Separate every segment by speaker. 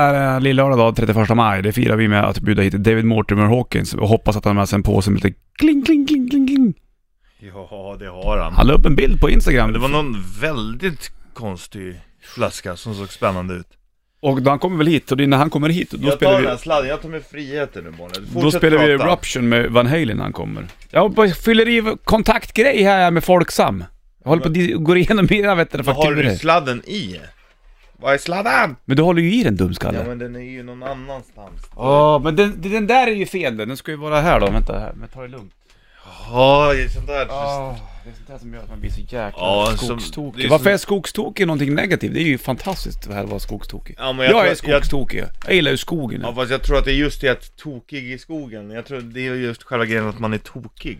Speaker 1: är lillördag då, 31 maj. Det firar vi med att bjuda hit David Mortimer Hawkins och hoppas att han har med sig en påse med lite kling, kling, kling, kling, kling.
Speaker 2: Ja, det har han.
Speaker 1: Han la upp en bild på Instagram.
Speaker 2: Men det var någon väldigt konstig flaska som såg spännande ut.
Speaker 1: Och då han kommer väl hit, och det är när han kommer hit, då
Speaker 2: Jag tar
Speaker 1: spelar
Speaker 2: den
Speaker 1: vi...
Speaker 2: här sladden, jag tar mig friheter nu Bonne. Fortsätt
Speaker 1: Då spelar vi
Speaker 2: prata.
Speaker 1: Eruption med Van Halen när han kommer. Jag bara fyller i kontaktgrej här med Folksam. Jag håller på att di- gå igenom mina vet du,
Speaker 2: Vad har du
Speaker 1: fakturor.
Speaker 2: sladden i? Vad är sladden?
Speaker 1: Men du håller ju i den dumskalle.
Speaker 2: Ja men den är ju någon annanstans.
Speaker 1: Ja, men den, den där är ju fel den. Den ska ju vara här då. Vänta här, men ta det lugnt.
Speaker 2: Ja, det är sånt där.
Speaker 1: Oh, det är sånt där som gör att man blir så jäkla
Speaker 2: Ja, som-
Speaker 1: skogstokig.
Speaker 2: det är
Speaker 1: Varför
Speaker 2: som-
Speaker 1: är skogstokig någonting negativt? Det är ju fantastiskt det här att vara skogstokig.
Speaker 2: Ja,
Speaker 1: jag,
Speaker 2: men jag tror
Speaker 1: är
Speaker 2: att- jag-
Speaker 1: skogstokig. Jag, gillar ju skogen.
Speaker 2: Ja fast jag tror att det är just det att tokig i skogen. Jag tror det är just själva grejen att man är tokig.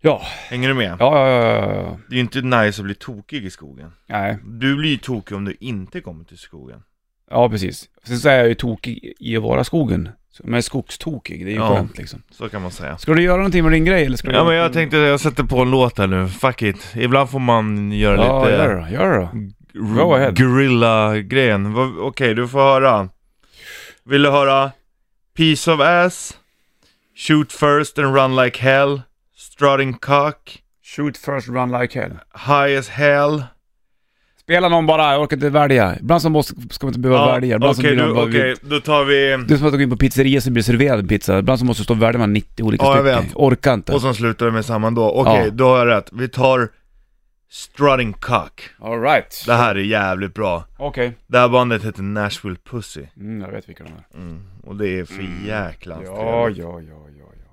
Speaker 1: Ja,
Speaker 2: Hänger du med?
Speaker 1: ja, ja, ja, ja, ja.
Speaker 2: Det är ju inte nice att bli tokig i skogen.
Speaker 1: Nej,
Speaker 2: Du blir ju tokig om du inte kommer till skogen.
Speaker 1: ja precis. Sen så är jag ju tokig i att vara skogen. Så- Men skogstokig, det är ju
Speaker 2: Ja.
Speaker 1: skönt liksom.
Speaker 2: Så kan man säga.
Speaker 1: Ska du göra någonting med din grej eller ska du...
Speaker 2: Ja men jag tänkte, jag sätter på en låt här nu. Fuck it. Ibland får man göra
Speaker 1: Ja,
Speaker 2: lite...
Speaker 1: gör det då, gör det då. Go ahead.
Speaker 2: Gorilla-grejen. Vad- Okej, du får höra. Vill du höra Piece of ass? Shoot first and run like hell? Strutting cock?
Speaker 1: Shoot first, run like hell.
Speaker 2: High as hell?
Speaker 1: Spela någon bara, jag orkar inte välja. Ibland så måste, ska man inte behöva välja. Ibland så
Speaker 2: Okej,
Speaker 1: blir
Speaker 2: du-
Speaker 1: man bara...
Speaker 2: okej, då tar vi...
Speaker 1: Det är som att gå in på pizzeria så blir det serverad en pizza. Ibland så måste du stå och välja mellan 90 olika
Speaker 2: Ja, jag
Speaker 1: stycken.
Speaker 2: vet.
Speaker 1: Orkar inte.
Speaker 2: Och så slutar vi med samma då. Okej,
Speaker 1: Ja.
Speaker 2: då har jag rätt. Vi tar Strutting cock.
Speaker 1: Alright.
Speaker 2: Det här är jävligt bra.
Speaker 1: Okej.
Speaker 2: Det här bandet heter Nashville Pussy.
Speaker 1: Mm, jag vet vilka de är.
Speaker 2: Mm. Och det är för jäkla
Speaker 1: Ja,
Speaker 2: ja.
Speaker 1: ja, ja, ja, ja.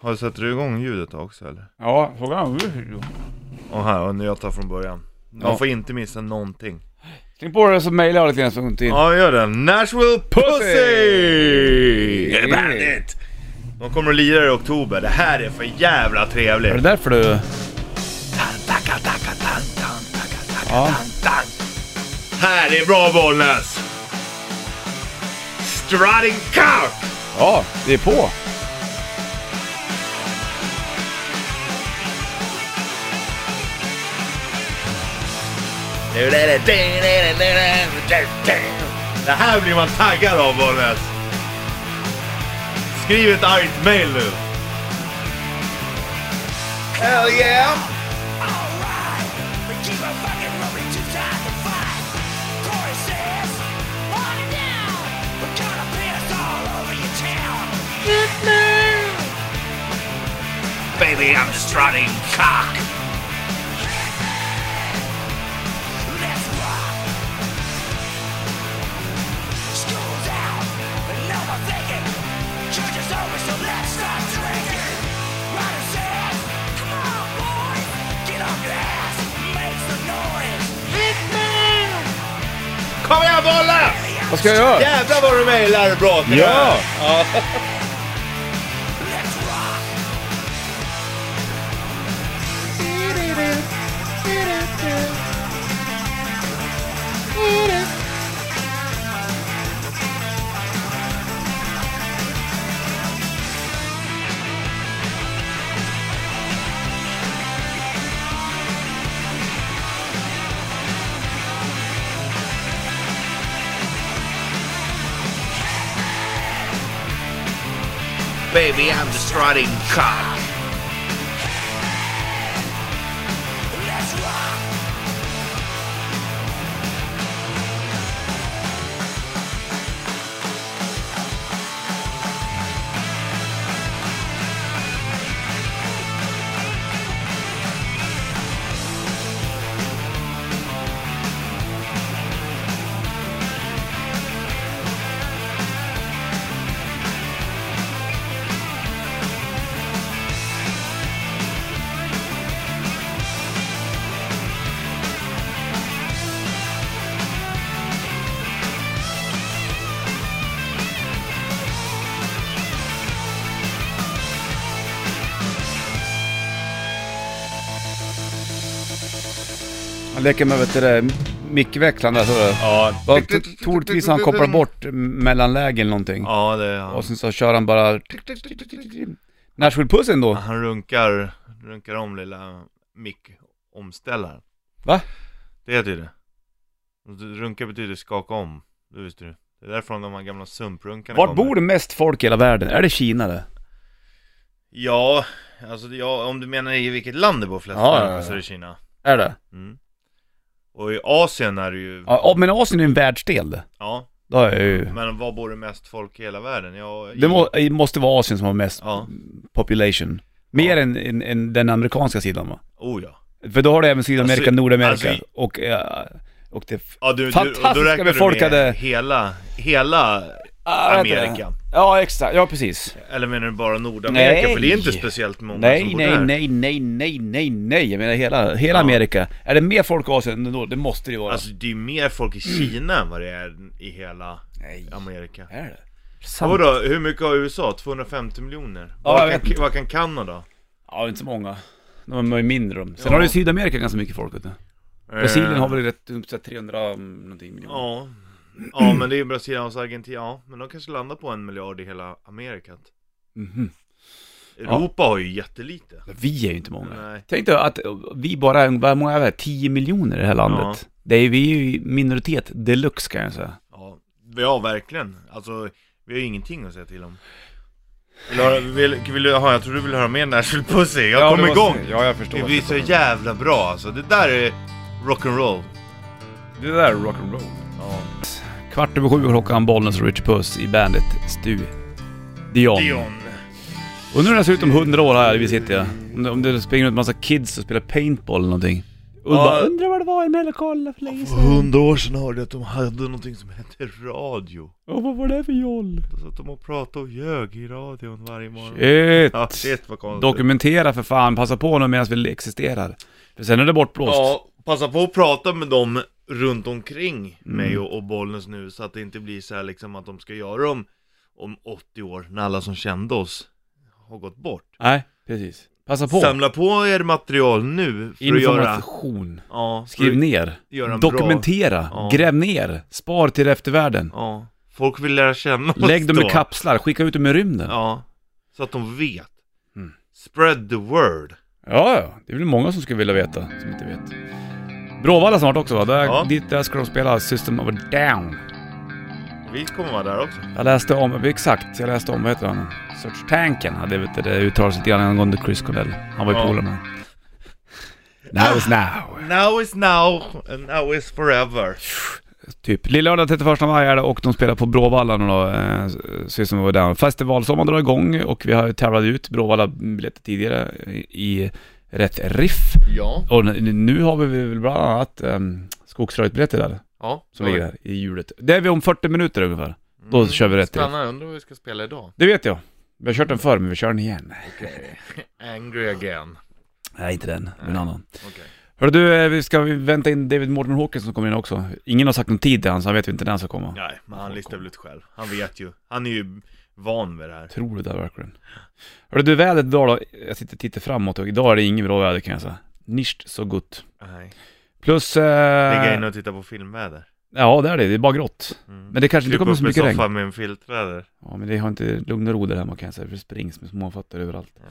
Speaker 2: Har Sätter du igång ljudet också eller?
Speaker 1: Ja, frågan är...
Speaker 2: Och här, och nu jag tar från början. Man
Speaker 1: Ja.
Speaker 2: får inte missa någonting.
Speaker 1: Släng på det så mejlar jag lite grann så till.
Speaker 2: Ja, gör det. Nashville Pussy!
Speaker 1: Yeah.
Speaker 2: Yeah. Bandit! De kommer att lira i oktober. Det här är för jävla
Speaker 1: Är det
Speaker 2: trevligt.
Speaker 1: därför du... Ja.
Speaker 2: Här är bra Bollnäs! Strutting cock!
Speaker 1: Ja, det är på.
Speaker 2: Det här blir man taggad av Bollnäs. Skriv ett argt mail nu. Hell yeah!
Speaker 3: Baby, I'm strutting cock. Let's rock. School's out, but no more thinking. Church is over, so let's start drinking. Ryder says, come on, boys, get off your ass, make some noise.
Speaker 2: Kom igen Bollnäs!
Speaker 1: Vad ska jag göra?
Speaker 2: Jävlar vad du mejlar bra till det
Speaker 1: Ja!
Speaker 2: här.
Speaker 3: Let's rock.
Speaker 2: Baby I'm the strutting cock.
Speaker 3: Let's rock.
Speaker 1: Han leker med vet du, det, mickväxlaren där. så är det.
Speaker 2: Ja.
Speaker 1: Ja, t- Troligtvis han kopplar bort mellanlägen eller någonting.
Speaker 2: Ja det är han.
Speaker 1: Och sen så kör han bara... Nashville-pussen då?
Speaker 2: Han runkar, runkar om lilla mick-omställaren.
Speaker 1: Va?
Speaker 2: Det heter ju det. Runka betyder skaka om. Det visste du. Det är därifrån de här gamla sumprunkarna
Speaker 1: Vart
Speaker 2: kommer.
Speaker 1: bor det mest folk i hela världen? Är det Kina det?
Speaker 2: Ja, alltså ja, om du menar i vilket land det bor flest
Speaker 1: Ja,
Speaker 2: människor
Speaker 1: ja, ja.
Speaker 2: så är det Kina.
Speaker 1: Är det?
Speaker 2: Mm. Och i Asien är det ju, ja.
Speaker 1: Ja, ja, men Asien är en världsdel det. Då är jag ju...
Speaker 2: Men var bor det mest folk i hela världen? Ja, i-
Speaker 1: Det må, det måste vara Asien som har mest
Speaker 2: Ja,
Speaker 1: population. Mer än, än, än den amerikanska sidan va?
Speaker 2: oh ja.
Speaker 1: För då har du även Sydamerika,
Speaker 2: Alltså,
Speaker 1: Nordamerika
Speaker 2: alltså-
Speaker 1: och, eh, och det...
Speaker 2: ja du, du, och då
Speaker 1: Fantastiska
Speaker 2: räknar du
Speaker 1: befolkade-
Speaker 2: med hela, hela
Speaker 1: Ah, vänta.
Speaker 2: Amerika.
Speaker 1: Ja, exakt. Ja, precis.
Speaker 2: Eller menar du bara Nordamerika?
Speaker 1: Nej.
Speaker 2: För det är inte speciellt många som
Speaker 1: Nej,
Speaker 2: bor
Speaker 1: nej,
Speaker 2: där.
Speaker 1: nej, nej, nej, nej, nej. Jag menar hela, hela
Speaker 2: alltså, Ja.
Speaker 1: Amerika. Är det mer folk i Asien än då? Det måste det ju vara.
Speaker 2: Alltså det är ju mer folk i Kina än vad det är i hela
Speaker 1: nej.
Speaker 2: Amerika.
Speaker 1: Är det?
Speaker 2: Ja,
Speaker 1: Sant.
Speaker 2: Vadå, hur mycket har USA? 250 miljoner?
Speaker 1: Ja, jag
Speaker 2: vad,
Speaker 1: vet
Speaker 2: kan,
Speaker 1: inte.
Speaker 2: vad kan Kanada?
Speaker 1: Ja, inte så många. De är ju mindre de. Sen
Speaker 2: Ja.
Speaker 1: har du Sydamerika ganska mycket folk vet du. Brasilien
Speaker 2: Eh,
Speaker 1: har väl rätt typ upp till 300 någonting miljoner.
Speaker 2: Ja. Ja men det är ju Brasilien och Argentina, ja men de kanske landar på en miljard i hela Amerika
Speaker 1: Mhm.
Speaker 2: Europa har ju jättelite
Speaker 1: Vi är ju inte många.
Speaker 2: Nej.
Speaker 1: Tänk dig att vi bara är, vad många är vi? 10 miljoner i det här landet. Det är, vi är ju minoritet deluxe kan jag säga.
Speaker 2: Ja, ja verkligen, alltså vi har ju ingenting att säga till om vill du, höra- vill, vill du, aha, jag tror du vill höra mer Nashville Pussy, jag kom igång!
Speaker 1: Ja, jag förstår.
Speaker 2: Det blir så jävla bra alltså, det där är rock'n'roll
Speaker 1: Det där är rock'n'roll.
Speaker 2: Ja,
Speaker 1: Kvart över sju klockan, Bollnäs och Richie Puss i bandet Stu Dion.
Speaker 2: Dion
Speaker 1: Undrar hur det ser ut om 100 år här vi sitter ja. Om det, om det springer runt massa kids och spelar paintball eller någonting. Och
Speaker 2: Ja.
Speaker 1: bara, undrar vad det var emellan kolla för länge
Speaker 2: För
Speaker 1: sedan.
Speaker 2: hundra år sedan hörde jag att de hade någonting som hette radio
Speaker 1: Och vad var det för joll?
Speaker 2: Då satt de och pratade och ljög i radion varje morgon Ja,
Speaker 1: Shit.
Speaker 2: shit vad konstigt
Speaker 1: Dokumentera för fan, passa på nu medan vi existerar. För sen är det bortblåst.
Speaker 2: Ja, passa på att prata med dem runt omkring
Speaker 1: Mm.
Speaker 2: mig och, och Bollnäs nu så att det inte blir så här liksom att de ska göra dem om 80 år när alla som kände oss har gått bort.
Speaker 1: Nej, precis. Passa på.
Speaker 2: Samla på er material nu för att göra...
Speaker 1: Information.
Speaker 2: Ja, för
Speaker 1: Skriv
Speaker 2: att
Speaker 1: ner.
Speaker 2: göra en
Speaker 1: Dokumentera.
Speaker 2: Ja.
Speaker 1: Gräv ner. Spar till eftervärlden.
Speaker 2: Bra, ja, folk vill lära känna oss
Speaker 1: Lägg dem
Speaker 2: då.
Speaker 1: i kapslar. Skicka ut dem i rymden. Ja,
Speaker 2: Ja, så att de vet.
Speaker 1: Mm.
Speaker 2: Spread the word.
Speaker 1: ja. Det är väl många som skulle vilja veta, som inte vet. Bråvalla snart också va? Där,
Speaker 2: Ja.
Speaker 1: dit, där ska de spela System of a Down.
Speaker 2: Vi kommer vara där också.
Speaker 1: Jag läste om, exakt, jag läste om, vad heter han? Search Tanken hade vet du, det uttalat sig lite grann angående Chris Cornell. Han var ju
Speaker 2: Ja.
Speaker 1: polare med honom. Now is now.
Speaker 2: Now is now, and now is forever.
Speaker 1: Typ. Lillördag 31 maj är det och de spelar på Bråvalla nu då, eh, System of a Down. Festivalsommaren drar igång och vi har ju tävlat ut Bråvalla biljetter tidigare i rätt riff.
Speaker 2: Ja.
Speaker 1: Och n- nu har vi väl bland annat eh, skogsröjtbiljetter där,
Speaker 2: Ja.
Speaker 1: som ligger där i hjulet. Det är vi om 40 minuter ungefär. Då kör vi rätt riff.
Speaker 2: Mm, Spännande, undrar vad vi ska spela idag.
Speaker 1: Det vet jag. Vi har kört den förr, men vi kör den igen.
Speaker 2: Angry again.
Speaker 1: Nej, inte den. En annan.
Speaker 2: Okej.
Speaker 1: Hörru du, eh, vi ska vänta in David Mortimer Hawkins som kommer in också. Ingen har sagt någon tid till han, så han vet ju inte när han ska komma.
Speaker 2: Nej, men han listar väl ut själv. Han vet ju. Han är ju van vid det här.
Speaker 1: Tror du det verkligen? Hörru du, vädret idag då? Jag sitter och tittar framåt och idag är det inget bra väder kan jag säga. Nicht så gott.
Speaker 2: Nej.
Speaker 1: Plus...
Speaker 2: Ligga
Speaker 1: Eh,
Speaker 2: inne och titta på filmväder. Mm.
Speaker 1: ja, det är det. Det är bara grått. Men det kanske inte
Speaker 2: Krypa
Speaker 1: kommer så
Speaker 2: upp i
Speaker 1: mycket regn.
Speaker 2: soffan med en filtväder.
Speaker 1: Ja, men det har inte lugn och ro där hemma kan jag säga, för det springs med småfötter överallt.
Speaker 2: Ja.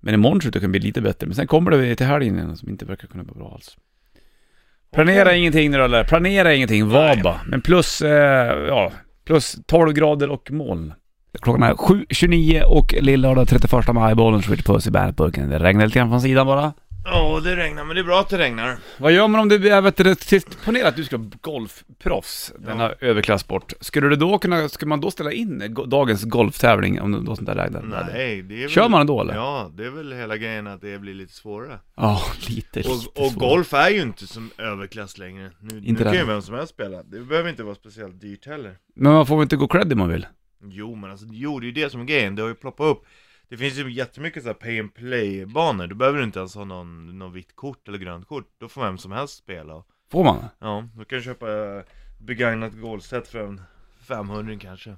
Speaker 1: Men imorgon tror jag det kan bli lite bättre, men sen kommer det till helgen igen som inte verkar kunna vara bra alls. Planera ingenting nu då, eller? Planera ingenting, var
Speaker 2: Nej.
Speaker 1: bara. Men plus, eh, ja, plus 12 grader och moln. Klockan är 7.29 och lillördag 31 maj, bollen skjuter puss i bandetburken. Det regnar lite grann från sidan bara.
Speaker 2: Ja, det regnar, men det är bra att det regnar.
Speaker 1: Vad gör man om du är, vet du, till- ponera att du ska vara golfproffs, denna överklassport. Skulle du då kunna, skulle man då ställa in go- dagens golftävling om det var sånt där regn?
Speaker 2: Nej, det är väl...
Speaker 1: Kör man då eller?
Speaker 2: Ja, det är väl hela grejen att det blir lite svårare.
Speaker 1: Ja, lite, lite
Speaker 2: Och, och
Speaker 1: svårt.
Speaker 2: golf är ju inte som överklass längre. Nu, nu
Speaker 1: Inte
Speaker 2: kan
Speaker 1: det.
Speaker 2: ju vem som helst spela. Det behöver inte vara speciellt dyrt heller.
Speaker 1: Men man får väl inte gå cred om man vill?
Speaker 2: Jo men alltså, jo det är ju det som är grejen, det har ju ploppat upp Det finns ju jättemycket så här pay and play banor, då behöver du inte ens ha någon, någon vitt kort eller grönt kort Då får vem som helst spela
Speaker 1: Får man?
Speaker 2: Ja, då kan du köpa eh, begagnat golfset för en 500 kanske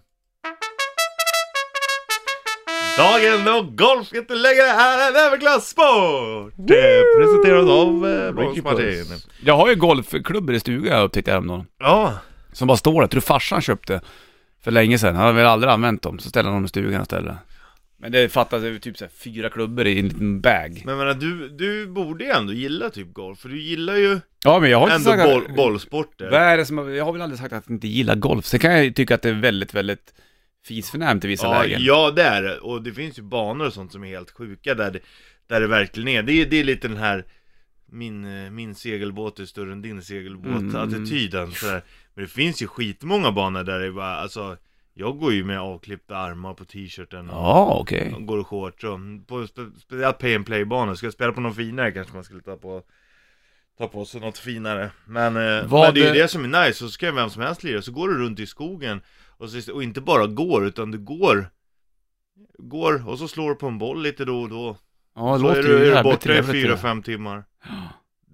Speaker 2: Dagen då golf inte längre är en överklassport! Det presenteras av eh, Brons Martin
Speaker 1: Jag har ju golfklubbor i stugan jag upptäckte häromdagen.
Speaker 2: Ja,
Speaker 1: Som bara står där. Tror du farsan köpte för länge sedan? Han hade väl aldrig använt dem. Så ställde han dem i stugan istället. Men det fattas ju typ så här fyra klubbor i en liten bag.
Speaker 2: Men jag menar, du, du borde ju ändå gilla typ golf, för du gillar ju
Speaker 1: Ja men jag har inte
Speaker 2: ändå
Speaker 1: sagt
Speaker 2: boll,
Speaker 1: att...
Speaker 2: bollsporter.
Speaker 1: Vad är det som, jag har väl aldrig sagt att jag inte gillar golf. Sen kan jag ju tycka att det är väldigt, väldigt fisförnämt i vissa
Speaker 2: ja,
Speaker 1: lägen.
Speaker 2: ja, det är det. Och det finns ju banor och sånt som är helt sjuka där det, där det verkligen är. Det, är- det är lite den här min, eh, min segelbåt är större än din
Speaker 1: Mm.
Speaker 2: segelbåt-attityden. sådär. Men det finns ju skitmånga banor där det är bara, alltså, jag går ju med avklippta armar på t-shirten. och
Speaker 1: Ja, okej.
Speaker 2: Mm. Går och shorts och på spe- speciellt pay and play banor. Ska jag spela på någon finare kanske man skulle ta på Ta på sig något finare Men, eh,
Speaker 1: Vad-
Speaker 2: men det är ju det som är nice, så ska ju vem som helst lira Så går du runt i skogen och, så, och inte bara går utan du går Går och så slår du på en boll lite då och då
Speaker 1: Ja, det
Speaker 2: Så är
Speaker 1: låter
Speaker 2: du,
Speaker 1: ju
Speaker 2: är du
Speaker 1: jävligt
Speaker 2: borta i
Speaker 1: trevligt. det
Speaker 2: fyra
Speaker 1: där.
Speaker 2: fem timmar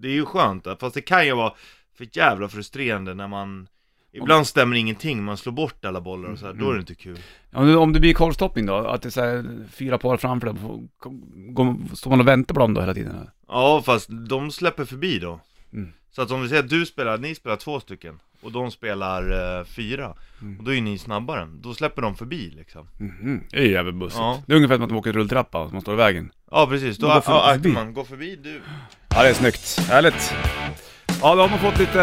Speaker 2: Det är ju skönt, fast det kan ju vara för jävla frustrerande när man Ibland stämmer ingenting, man slår bort alla bollar och så här, då är
Speaker 1: Mm.
Speaker 2: det inte kul
Speaker 1: Om, du, om det blir korvstoppning då, att det är så här fyra par framför dig, får- går- står man och väntar på dem då hela tiden? eller?
Speaker 2: Ja fast de släpper förbi då
Speaker 1: Mm.
Speaker 2: Så att om vi säger att du spelar, ni spelar två stycken och de spelar eh, fyra
Speaker 1: Mm.
Speaker 2: Och då är ni snabbare, då släpper de förbi liksom
Speaker 1: Mhm. Det är ju jävligt bussigt.
Speaker 2: Ja.
Speaker 1: Det är ungefär som att de åker rulltrappa och man står i vägen.
Speaker 2: Ja precis, då
Speaker 1: Men varför
Speaker 2: ja,
Speaker 1: inte förbi?
Speaker 2: man går förbi du
Speaker 1: Ja, det är snyggt. Härligt. Ja, då har man fått lite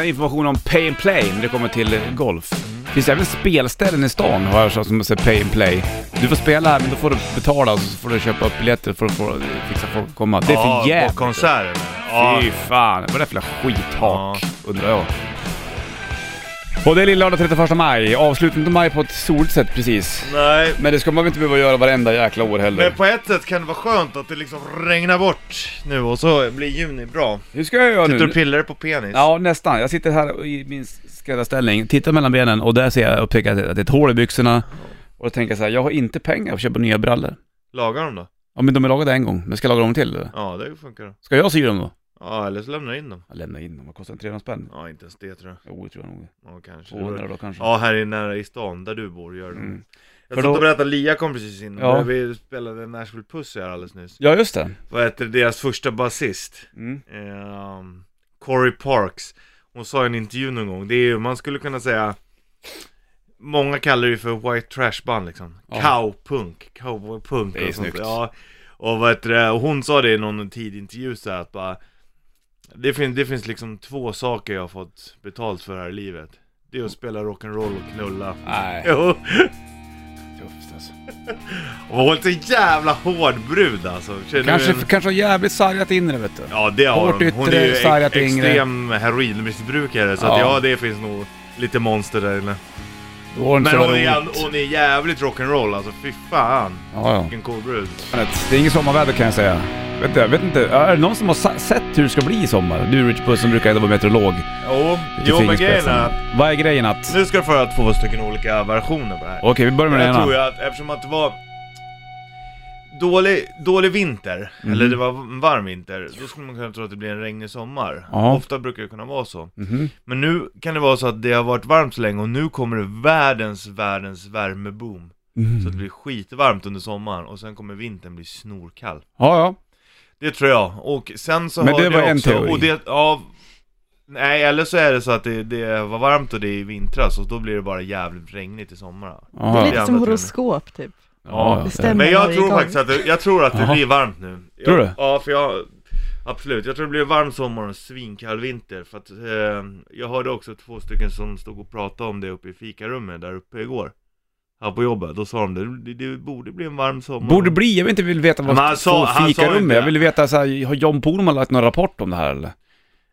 Speaker 1: eh, information om pay and play när det kommer till eh, golf. Det finns även spelställen i stan har jag hört som säger pay and play. Du får spela här men då får du betala och så får du köpa upp biljetter för att få, fixa folk att komma. Det är för
Speaker 2: Ja,
Speaker 1: jävligt.
Speaker 2: på konserten
Speaker 1: Fy fan, vad är det för jävla skithak, undrar jag. Och det är lilla lördag 31 maj, avslutningen av maj på ett soligt sätt precis.
Speaker 2: Nej
Speaker 1: Men det ska man väl inte behöva göra varenda jäkla år heller.
Speaker 2: men på ett sätt kan det vara skönt att det liksom regnar bort nu och så blir juni bra.
Speaker 1: Hur ska jag göra
Speaker 2: Sitter du och
Speaker 1: nu?
Speaker 2: pillar dig på penis?
Speaker 1: Mm. Ja, nästan. Jag sitter här i min skräddarställning, tittar mellan benen och där ser jag, upptäcker jag att det är ett hål i byxorna. Och då tänker jag så här, jag har inte pengar för att köpa nya brallor.
Speaker 2: Lagar dem då? Ja
Speaker 1: Ja men de är lagade en gång, men ska jag laga dem till? eller?
Speaker 2: det funkar då.
Speaker 1: Ska jag sy dem då?
Speaker 2: Ja eller så lämnar du in dem.
Speaker 1: Jag lämnar in dem, vad kostar de? 300 spänn?
Speaker 2: Ja inte ens det tror jag.
Speaker 1: Jo, det tror jag nog.
Speaker 2: Ja kanske.
Speaker 1: 200 då kanske.
Speaker 2: Ja, här i nära i stan där du bor gör det.
Speaker 1: Mm. För
Speaker 2: Jag satt
Speaker 1: då-
Speaker 2: och berättade, Lia kom precis in,
Speaker 1: Ja.
Speaker 2: vi spelade Nashville Pussy här alldeles nyss.
Speaker 1: Ja, just det.
Speaker 2: Vad heter deras första basist?
Speaker 1: Mm.
Speaker 2: Ehm, Corey Parks. Hon sa i en intervju någon gång, det är ju, man skulle kunna säga Många kallar det ju för white trash band liksom.
Speaker 1: Ja.
Speaker 2: Cowpunk, cowboypunk
Speaker 1: Det är
Speaker 2: och sånt.
Speaker 1: snyggt.
Speaker 2: Ja. Och vad heter det, och hon sa det i någon tidig intervju så här att bara det, fin- det finns liksom två saker jag har fått betalt för här i livet. Det är att spela rock'n'roll och knulla.
Speaker 1: Nej,
Speaker 2: Jo.
Speaker 1: tufft alltså.
Speaker 2: Och hon är så jävla hård brud alltså. Känner
Speaker 1: Kanske,
Speaker 2: du en-
Speaker 1: kanske har jävligt sargat inre vet du.
Speaker 2: Ja det har
Speaker 1: Hårt
Speaker 2: hon. Hon
Speaker 1: yttre,
Speaker 2: är ju
Speaker 1: sargat
Speaker 2: ex-
Speaker 1: yngre.
Speaker 2: extrem heroinmissbrukare så att
Speaker 1: Ja.
Speaker 2: ja det finns nog lite monster där inne.
Speaker 1: Då har det inte
Speaker 2: Men
Speaker 1: så
Speaker 2: hon
Speaker 1: jävla
Speaker 2: är,
Speaker 1: roligt.
Speaker 2: hon är jävligt rock'n'roll alltså, fy fan.
Speaker 1: Ja, ja.
Speaker 2: Vilken cool brud.
Speaker 1: Det är inget sommarväder kan jag säga. Vet inte, jag vet inte, är det någon som har sa- sett hur det ska bli i sommar? Du Rich Puss som brukar ändå vara meteorolog.
Speaker 2: Jo, jo men grejen är att
Speaker 1: Vad är grejen att...
Speaker 2: nu ska du få höra två stycken olika versioner på det här.
Speaker 1: Okej, vi börjar med den
Speaker 2: Jag tror
Speaker 1: ena.
Speaker 2: jag att eftersom att det var dålig, dålig vinter,
Speaker 1: Mm.
Speaker 2: eller det var en varm vinter, då skulle man kunna tro att det blir en regnig sommar.
Speaker 1: Ja.
Speaker 2: Ofta brukar det kunna vara så.
Speaker 1: Mhm.
Speaker 2: Men nu kan det vara så att det har varit varmt så länge och nu kommer det världens, världens värmeboom. Mm. Så
Speaker 1: Mm.
Speaker 2: att det blir skitvarmt under sommaren och sen kommer vintern bli snorkall.
Speaker 1: Ja, ja.
Speaker 2: Det tror jag. Och sen så
Speaker 1: Men
Speaker 2: har
Speaker 1: det var en
Speaker 2: också,
Speaker 1: teori.
Speaker 2: Och det, ja, nej, eller så är det så att det, det var varmt och det är i vintras och då blir det bara jävligt regnigt i sommar.
Speaker 4: Det
Speaker 1: Ja,
Speaker 4: är
Speaker 1: ja.
Speaker 4: lite
Speaker 2: Jävla
Speaker 4: som
Speaker 2: trevligt.
Speaker 4: horoskop typ.
Speaker 1: ja,
Speaker 4: Det
Speaker 1: ja.
Speaker 4: stämmer
Speaker 2: Men jag
Speaker 4: varje
Speaker 2: tror
Speaker 4: gång.
Speaker 2: faktiskt att det, jag tror att det
Speaker 1: Jaha.
Speaker 2: blir varmt nu. Jag,
Speaker 1: Tror du?
Speaker 2: Ja, för jag, absolut. Jag tror det blir varm sommar och en svinkall vinter. För att eh, jag hörde också två stycken som stod och pratade om det uppe i fikarummet där uppe igår. Här på jobbet. Då sa de det, det, det borde bli en varm sommar.
Speaker 1: Borde bli, jag vill inte vill veta
Speaker 2: Men han
Speaker 1: vad
Speaker 2: sa-
Speaker 1: två
Speaker 2: han sa
Speaker 1: fikarum
Speaker 2: inte-
Speaker 1: är. Jag vill veta så här, har John Pohlman lagt någon rapport om det här eller?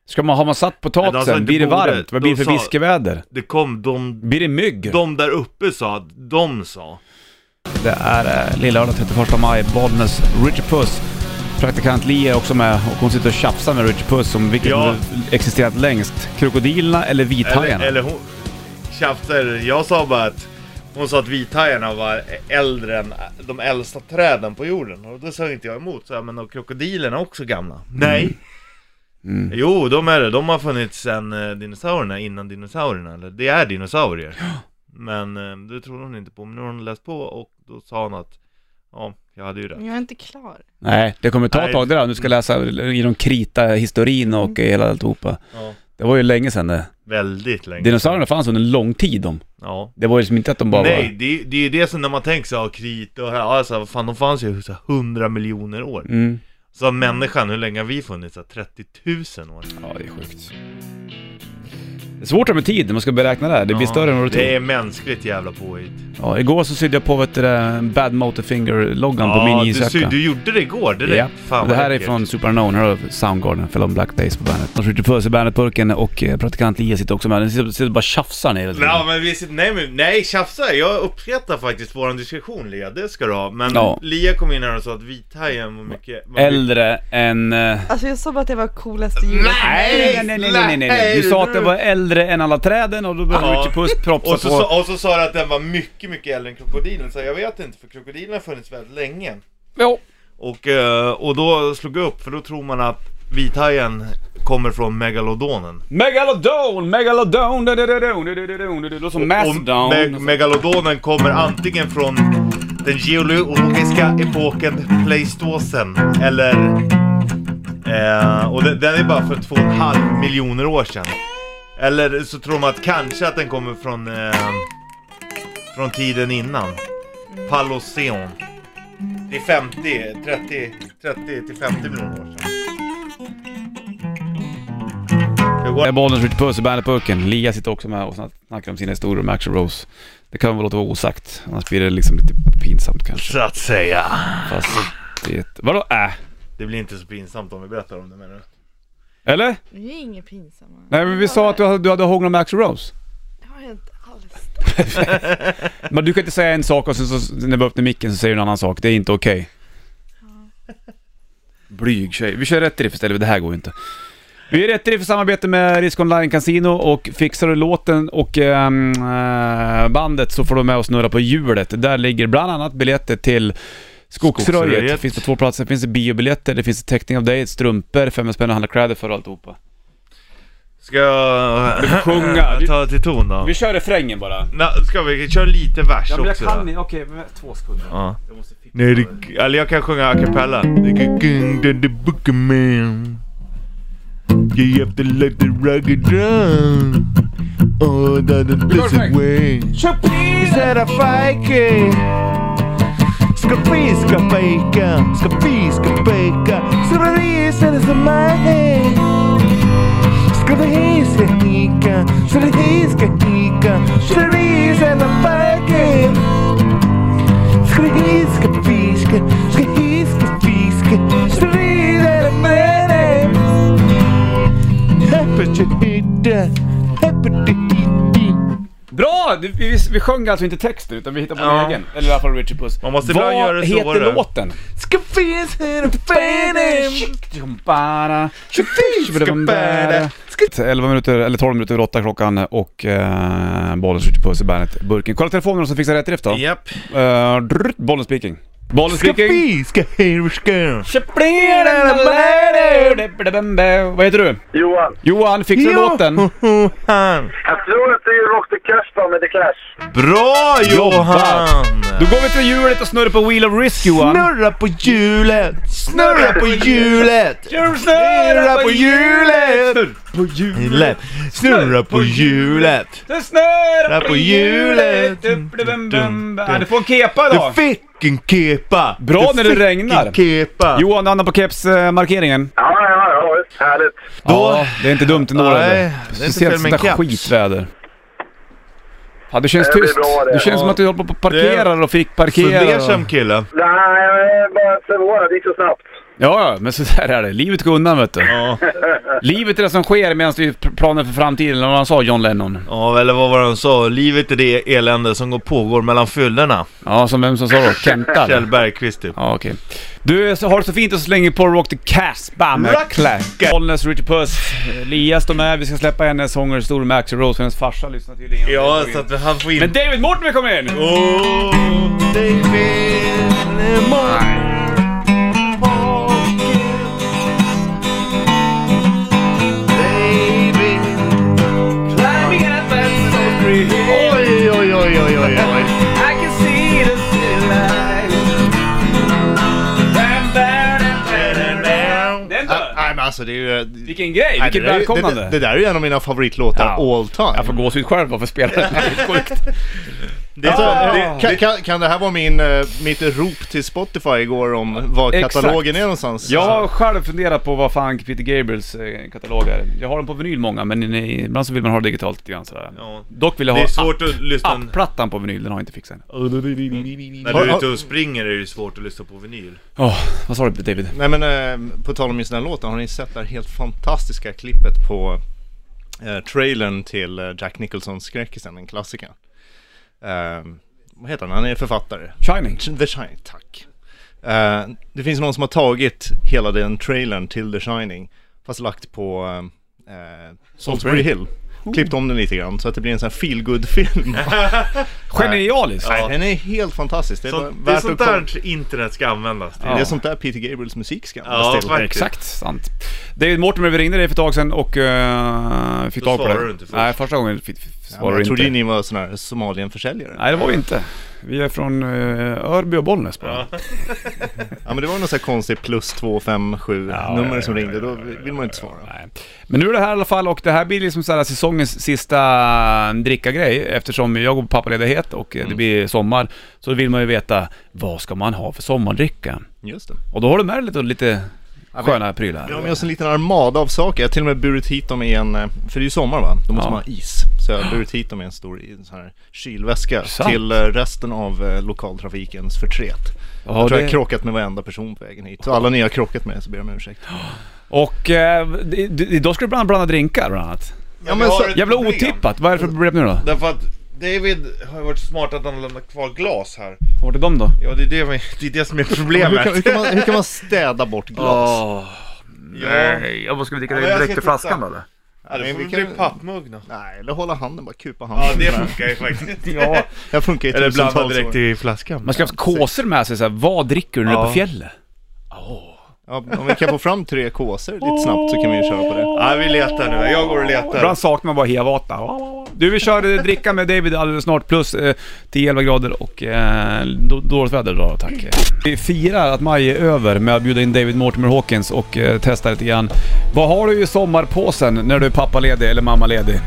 Speaker 1: Ska man, har man satt
Speaker 2: Nej, de sa
Speaker 1: potatisen?
Speaker 2: inte
Speaker 1: Blir det
Speaker 2: borde.
Speaker 1: varmt? Vad
Speaker 2: De
Speaker 1: blir det för
Speaker 2: sa-
Speaker 1: viskeväder?
Speaker 2: Det kom, de,
Speaker 1: Blir det mygg?
Speaker 2: de där uppe sa att de sa.
Speaker 1: Det är eh, lilla lördag 31 maj, Bollnäs, Richard Puss. Praktikant Li är också med och hon sitter och tjafsar med Richard Puss om vilket
Speaker 2: Ja.
Speaker 1: existerat längst. Krokodilerna eller vithajarna?
Speaker 2: Eller, eller hon tjafsade, jag sa bara att hon sa att vithajarna var äldre än de äldsta träden på jorden och då sa inte jag emot så här, men de krokodilerna är också gamla. Nej! Jo, de är det. De har funnits sedan eh, dinosaurierna, innan dinosaurierna. Eller det är dinosaurier. Men eh, det trodde hon inte på, men nu har hon läst på och då sa hon att ja, jag hade ju rätt.
Speaker 4: Men
Speaker 3: Mm.
Speaker 4: Jag är inte klar.
Speaker 1: Nej, det kommer ta
Speaker 2: Nej.
Speaker 4: Mm.
Speaker 1: ett tag det där. Du ska läsa genom krita historin och hela alltihopa.
Speaker 2: Ja.
Speaker 1: Det var ju länge sedan det.
Speaker 2: Väldigt länge.
Speaker 1: Dinosaurierna fanns under en lång tid de.
Speaker 2: Ja.
Speaker 1: Det var ju liksom inte att de bara
Speaker 2: Nej, det, det är ju det som när man tänker såhär, krit och här, alltså, vad fan de fanns ju så här 100 miljoner år.
Speaker 1: var... Mm.
Speaker 2: Så har människan, hur länge har vi funnits? Så här 30 000 år?
Speaker 1: Ja, det är sjukt. Det är svårt det här med tid när man ska beräkna det här. Det blir
Speaker 2: Ja,
Speaker 1: större än vad du tror.
Speaker 2: Det är mänskligt jävla påhitt.
Speaker 1: Ja, igår så sydde jag på vet du, det, Bad Motorfinger-loggan på min
Speaker 2: du, sy-
Speaker 1: jeansjacka.
Speaker 2: du gjorde det igår direkt.
Speaker 1: Ja,
Speaker 2: Fan
Speaker 1: det
Speaker 2: vad
Speaker 1: här är
Speaker 2: läckert.
Speaker 1: från Super Unknown, här har vi Soundgarden, Fell on Black Days på bandet. De skjuter på sig bandetburken och eh, praktikant Lia sitter också med. Den sitter, sitter och bara tjafsar ner hela tiden.
Speaker 2: Ja, men vi sitter, nej, men, nej tjafsa. Jag uppskattar faktiskt våran diskussion Lia, det ska du ha. Men
Speaker 1: Ja.
Speaker 2: Lia kom in här och sa att vithajen var mycket... var
Speaker 1: Äldre än... eh,
Speaker 4: Alltså jag sa bara att det var coolaste
Speaker 2: Mm.
Speaker 4: djuret.
Speaker 1: Nej, nej, nej, nej, nej, nej, nej. Du sa att det var äldre än alla träden och då började
Speaker 2: Ja.
Speaker 1: Richie Puss propsa
Speaker 2: Och så,
Speaker 1: på...
Speaker 2: sa- och så sa du att den var mycket, mycket äldre än krokodilen, så jag vet inte för krokodilen har funnits väldigt länge.
Speaker 1: Jo.
Speaker 2: Och, eh, och då slog jag upp, för då tror man att vithajen kommer från megalodonen.
Speaker 1: Megalodon, megalodon, da, da, da, da, da, da, da, da, da. det låter som
Speaker 2: Och me-
Speaker 1: Mastodon.
Speaker 2: megalodonen kommer antingen från den geologiska epoken Pleistosen eller... Eh, och den, den är bara för 2,5 miljoner år sedan. Eller så tror man att kanske att den kommer från... Eh, från tiden innan. Paloseon. Det är 50, 30, 30 till 50 miljoner år sedan. Hur går
Speaker 1: Det är Bollnäs, Richie Puss och Bandet-burken. Lia sitter också med och snackar om sina historier med Axl Rose. Det kan väl låta vara osagt, annars blir det liksom lite pinsamt kanske.
Speaker 2: Så att säga.
Speaker 1: Fast det... Vadå äh?
Speaker 2: Det blir inte så pinsamt om vi berättar om det menar du?
Speaker 1: Eller?
Speaker 4: Det är inget pinsamma.
Speaker 1: Nej men vi sa att du hade, du hade hånglat med Axl Rose.
Speaker 4: Det har jag inte alls.
Speaker 1: Men du kan inte säga en sak och sen så, när vi öppnar micken så säger du en annan sak. Det är inte okej. Blyg tjej. Vi kör rätt riff istället, det här går ju inte. Vi är rätt riff i samarbete med Risk Online Casino och fixar du låten och ehm, eh, bandet så får du med och snurra på hjulet. Där ligger bland annat biljetter till Skogsröjet.
Speaker 2: Skogsröjet.
Speaker 1: Det finns på två platser. Det finns biobiljetter, det finns teckning av dig, strumpor, fem spänn att handla kläder för och alltihopa.
Speaker 2: Ska jag...
Speaker 1: Men sjunga, du-
Speaker 2: Ta till ton då.
Speaker 1: Vi kör refrängen bara.
Speaker 2: Nå, ska vi köra lite vers också då?
Speaker 1: inte, okej, två sekunder.
Speaker 2: Ja. Nej, det, eller jag kan sjunga a cappella. You have to let the rugged down. Oh, that the blessed way. Said a fake. Skafiska pejka, skafiska pejka. Svarisen är som mig. Ska vi hiska hika, ska vi hiska hika. Svarisen är fake. Ska vi hiska fiska, ska vi hiska fiska. Svarisen är mig. Heppetyhidde, heppetyhidde.
Speaker 1: Bra! Du- Vi, vi sjöng alltså inte texten utan vi hittade på
Speaker 2: Ja.
Speaker 1: en egen. Eller i alla fall Richie Puss.
Speaker 2: Man måste
Speaker 1: Vad
Speaker 2: ibland göra det så,
Speaker 1: heter
Speaker 2: var det.
Speaker 1: låten?
Speaker 2: Ska finnas här och
Speaker 1: Ska- 11 minuter, eller 12 minuter över 8 klockan och eh, bollen skjuter puss i bandet burken. Kolla telefonen så fixar jag rätt drift då.
Speaker 2: Japp.
Speaker 1: Eh, drrrt, bollen speaking. Bollen
Speaker 2: Ska
Speaker 1: speaking.
Speaker 2: vi, ska här och ska.
Speaker 1: Vad heter du?
Speaker 5: Johan,
Speaker 1: Johan, fixar du låten?
Speaker 2: Johan!
Speaker 5: jag tror att det är Rock the Clash då med The Clash.
Speaker 2: Bra Johan!
Speaker 1: Då går vi till hjulet och snurrar på Wheel of Risk Johan.
Speaker 2: Snurra på hjulet, snurra på hjulet,
Speaker 1: Snurra
Speaker 2: på hjulet.
Speaker 1: På hjulet!
Speaker 2: hjulet, snurra på hjulet.
Speaker 1: Det snurrar
Speaker 2: Där på hjulet.
Speaker 1: Dum, dum, dum.
Speaker 2: Dum,
Speaker 1: Ja, Du får en kepa idag!
Speaker 2: Du fick en kepa!
Speaker 1: Bra när det
Speaker 2: fick en
Speaker 1: regnar.
Speaker 2: kepa!
Speaker 1: Johan, du hamnar på kepsmarkeringen.
Speaker 5: Ja, ja, ja, visst. Härligt.
Speaker 1: Ja, det är inte dumt ändå
Speaker 2: Nej, det är
Speaker 1: eller?
Speaker 2: inte fel
Speaker 1: Speciellt
Speaker 2: med
Speaker 1: sånt där
Speaker 2: en keps.
Speaker 1: skitväder. Ja, det känns
Speaker 5: Det blir
Speaker 1: tyst.
Speaker 5: bra det.
Speaker 1: Det känns
Speaker 5: Ja.
Speaker 1: som att du håller på och parkerar och fick parkera.
Speaker 2: Fundersam kille.
Speaker 5: Nej, jag är bara förvånad. Det gick så snabbt.
Speaker 1: Ja, ja, men så där är det. Livet går undan vet du.
Speaker 2: Ja.
Speaker 1: Livet är det som sker medan du planer för framtiden, eller vad han sa, John Lennon.
Speaker 2: ja, eller vad var det han sa? Livet är det elände som går pågår mellan fyllorna.
Speaker 1: Ja, som vem som sa då? Kenta?
Speaker 2: Kjell
Speaker 1: eller?
Speaker 2: Bergqvist typ.
Speaker 1: Ja, okej. Du, så har det så fint och så slänger på Rock the Cast. Bam! med
Speaker 2: Rock the
Speaker 1: Clash.
Speaker 2: Cast.
Speaker 1: Bollnäs, Richard Puss, Elias de är. Vi ska släppa hennes sånger, stor med Axl Rose, hennes farsa lyssnar tydligen.
Speaker 2: Ja, så att han får in...
Speaker 1: Men David Mortimer kommer in!
Speaker 2: Oh, David Lemon. David. Oj, oj, oj, oj, oj, oj. I'm a
Speaker 6: alltså det är ju...
Speaker 1: Vilken grej,
Speaker 6: Nej,
Speaker 1: vilket
Speaker 6: det där är ju-
Speaker 1: välkomnande!
Speaker 6: Det, det där är ju en av mina favoritlåtar
Speaker 1: Ja.
Speaker 6: all time.
Speaker 1: Jag får gåshud själv bara för att spela den. Det är sjukt.
Speaker 6: Det är så, det, kan, kan, kan det här vara min, eh, mitt rop till Spotify igår om var
Speaker 1: Exakt.
Speaker 6: katalogen är någonstans?
Speaker 1: Jag har själv funderat på vad fan Peter Gabriels eh, katalog är. Jag har dem på vinyl många, men nej, ibland så vill man ha det digitalt lite grann sådär.
Speaker 2: Ja.
Speaker 1: Dock vill jag
Speaker 2: Det
Speaker 1: ha
Speaker 2: är svårt att lyssna...
Speaker 1: app- app-plattan på vinyl, den har jag inte fixat än. ah.
Speaker 2: När du är ute och springer är det ju svårt att lyssna på vinyl.
Speaker 1: Åh, vad sa du David?
Speaker 6: Nej men eh, på tal om just den här låten, har ni sett det här helt fantastiska klippet på eh, trailern till eh, Jack Nicholsons skräckisen, den klassikern? Eh, vad heter han? Han är författare.
Speaker 1: Shining.
Speaker 6: The Shining, tack. Eh, det finns någon som har tagit hela den trailern till The Shining, fast lagt på eh, eh, Salisbury Hill. Klippt om den lite grann så att det blir en sån här feel good film
Speaker 1: Genialiskt!
Speaker 6: Nej, Den är helt fantastisk. Det är,
Speaker 2: Så,
Speaker 6: bara
Speaker 2: det är
Speaker 6: värt
Speaker 2: sånt
Speaker 6: att kolla.
Speaker 2: där internet ska användas till.
Speaker 1: Ja.
Speaker 6: Det är sånt där Peter Gabriels musik ska
Speaker 2: Ja,
Speaker 6: användas till.
Speaker 2: faktiskt.
Speaker 1: Exakt, sant. David Mortimer vi ringde dig för ett tag sedan och uh, fick
Speaker 2: Då
Speaker 1: tag på det.
Speaker 2: svarade du inte först.
Speaker 1: Nej, första gången fick, fick,
Speaker 6: Ja,
Speaker 1: svarade
Speaker 6: men
Speaker 1: du
Speaker 6: Jag trodde
Speaker 1: inte.
Speaker 6: ni var sån här Somalienförsäljare.
Speaker 1: Nej, det var vi inte. Vi är från eh, Örby och Bollnäs bara.
Speaker 6: Ja men det var någon sån här konstig plus 257
Speaker 1: Ja,
Speaker 6: nummer
Speaker 1: ja, ja,
Speaker 6: som
Speaker 1: ja,
Speaker 6: ringde,
Speaker 1: ja,
Speaker 6: då
Speaker 1: ja,
Speaker 6: vill man inte svara.
Speaker 1: Nej. Men nu är det här i alla fall och det här blir liksom så här säsongens sista drickagrej eftersom jag går på pappaledighet och
Speaker 6: Mm.
Speaker 1: eh, det blir sommar. Så vill man ju veta vad ska man ha för sommardricka?
Speaker 6: Just det.
Speaker 1: Och då har du med dig lite, lite sköna prylar.
Speaker 6: Vi har med oss en liten armada av saker. Jag har till och med burit hit dem i en, eh, för det är ju sommar va, då måste
Speaker 1: Ja.
Speaker 6: man ha is. Så jag har burit hit dem i en stor i en sån här kylväska
Speaker 1: Sant.
Speaker 6: till eh, resten av eh, lokaltrafikens förtret.
Speaker 1: Ja,
Speaker 6: jag tror jag
Speaker 1: det-
Speaker 6: har krockat med varenda person på vägen hit. Så alla ni har krockat med så ber jag om ursäkt.
Speaker 1: Och eh, det- det- då ska du bland blanda drinkar bland annat.
Speaker 6: Ja, men
Speaker 2: vi har
Speaker 6: så-
Speaker 2: ett
Speaker 1: Jävla
Speaker 2: problem.
Speaker 1: otippat, vad är det för problem nu då?
Speaker 2: Därför att David har ju varit så smart att han har lämnat kvar glas här.
Speaker 1: Vart är de då?
Speaker 2: Ja, det är det, vi- det, är det som är
Speaker 6: Men Hur kan, hur,
Speaker 2: problemet.
Speaker 6: kan man, hur kan man städa bort glas?
Speaker 2: nej.
Speaker 1: vad ska vi dricka
Speaker 2: Ja, men jag direkt ska ur flaskan titta. då,
Speaker 1: eller?
Speaker 2: Ja, det
Speaker 6: Men
Speaker 2: får
Speaker 6: vi
Speaker 2: väl
Speaker 6: kan-
Speaker 2: bli pappmugg då.
Speaker 6: Nej, eller hålla handen, bara kupa handen.
Speaker 2: Ja, det funkar ju faktiskt.
Speaker 1: Ja.
Speaker 6: Jag funkar i
Speaker 2: Eller blanda
Speaker 6: tusentals
Speaker 2: direkt
Speaker 6: år.
Speaker 2: i flaskan.
Speaker 1: Man ska ha haft kåsor med sig såhär, vad dricker du när du är på
Speaker 2: Ja.
Speaker 1: fjället?
Speaker 6: Ja, om vi kan få fram tre kåsor lite snabbt så kan vi ju köra på det.
Speaker 2: Ja, vi letar nu. Jag går och letar.
Speaker 1: Ibland saknar man bara hevata. Du, vi kör eh, dricka med David alldeles snart, plus eh, 10-11 grader och eh, då- dåligt väder idag, tack. Vi firar att maj är över med att bjuda in David Mortimer Hawkins och eh, testa lite grann. Vad har du i sommarpåsen när du är pappaledig eller mammaledig?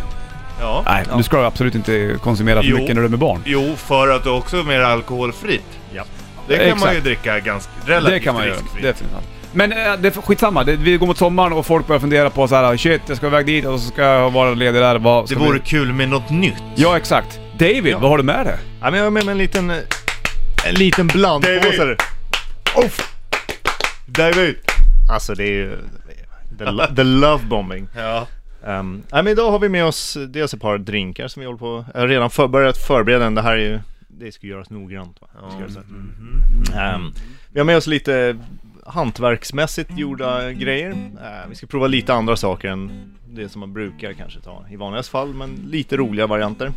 Speaker 2: Ja.
Speaker 1: Nej, nu ska du absolut inte konsumera för
Speaker 2: Jo.
Speaker 1: mycket när du är med barn.
Speaker 2: Jo, för att det också är mer alkoholfritt. Ja. Det kan man ju
Speaker 1: Exakt.
Speaker 2: dricka ganska relativt
Speaker 1: det kan man göra.
Speaker 2: riskfritt.
Speaker 1: Definitivt. Men eh, det är skitsamma, det, vi går mot sommaren och folk börjar fundera på så här: shit jag ska iväg dit och så ska jag vara ledig där. Vad
Speaker 2: Det
Speaker 1: ska
Speaker 2: vore
Speaker 1: vi...
Speaker 2: kul med något nytt.
Speaker 1: Ja exakt. David, vad har du med dig?
Speaker 6: Ja, men jag har med mig en liten, eh, en liten blandpåse.
Speaker 2: David! David!
Speaker 6: Alltså det är ju the, lo- the love bombing.
Speaker 2: Ja.
Speaker 6: Um, ja, men idag har vi med oss dels ett par drinkar som vi håller på, jag har redan för, börjat förbereda den. Det här är ju, det ska göras noggrant va? Det Ska göras rätt. Ehm, vi har med oss lite hantverksmässigt gjorda grejer. Eh, vi ska prova lite andra saker än det som man brukar kanske ta i vanligaste fall, men lite roliga varianter.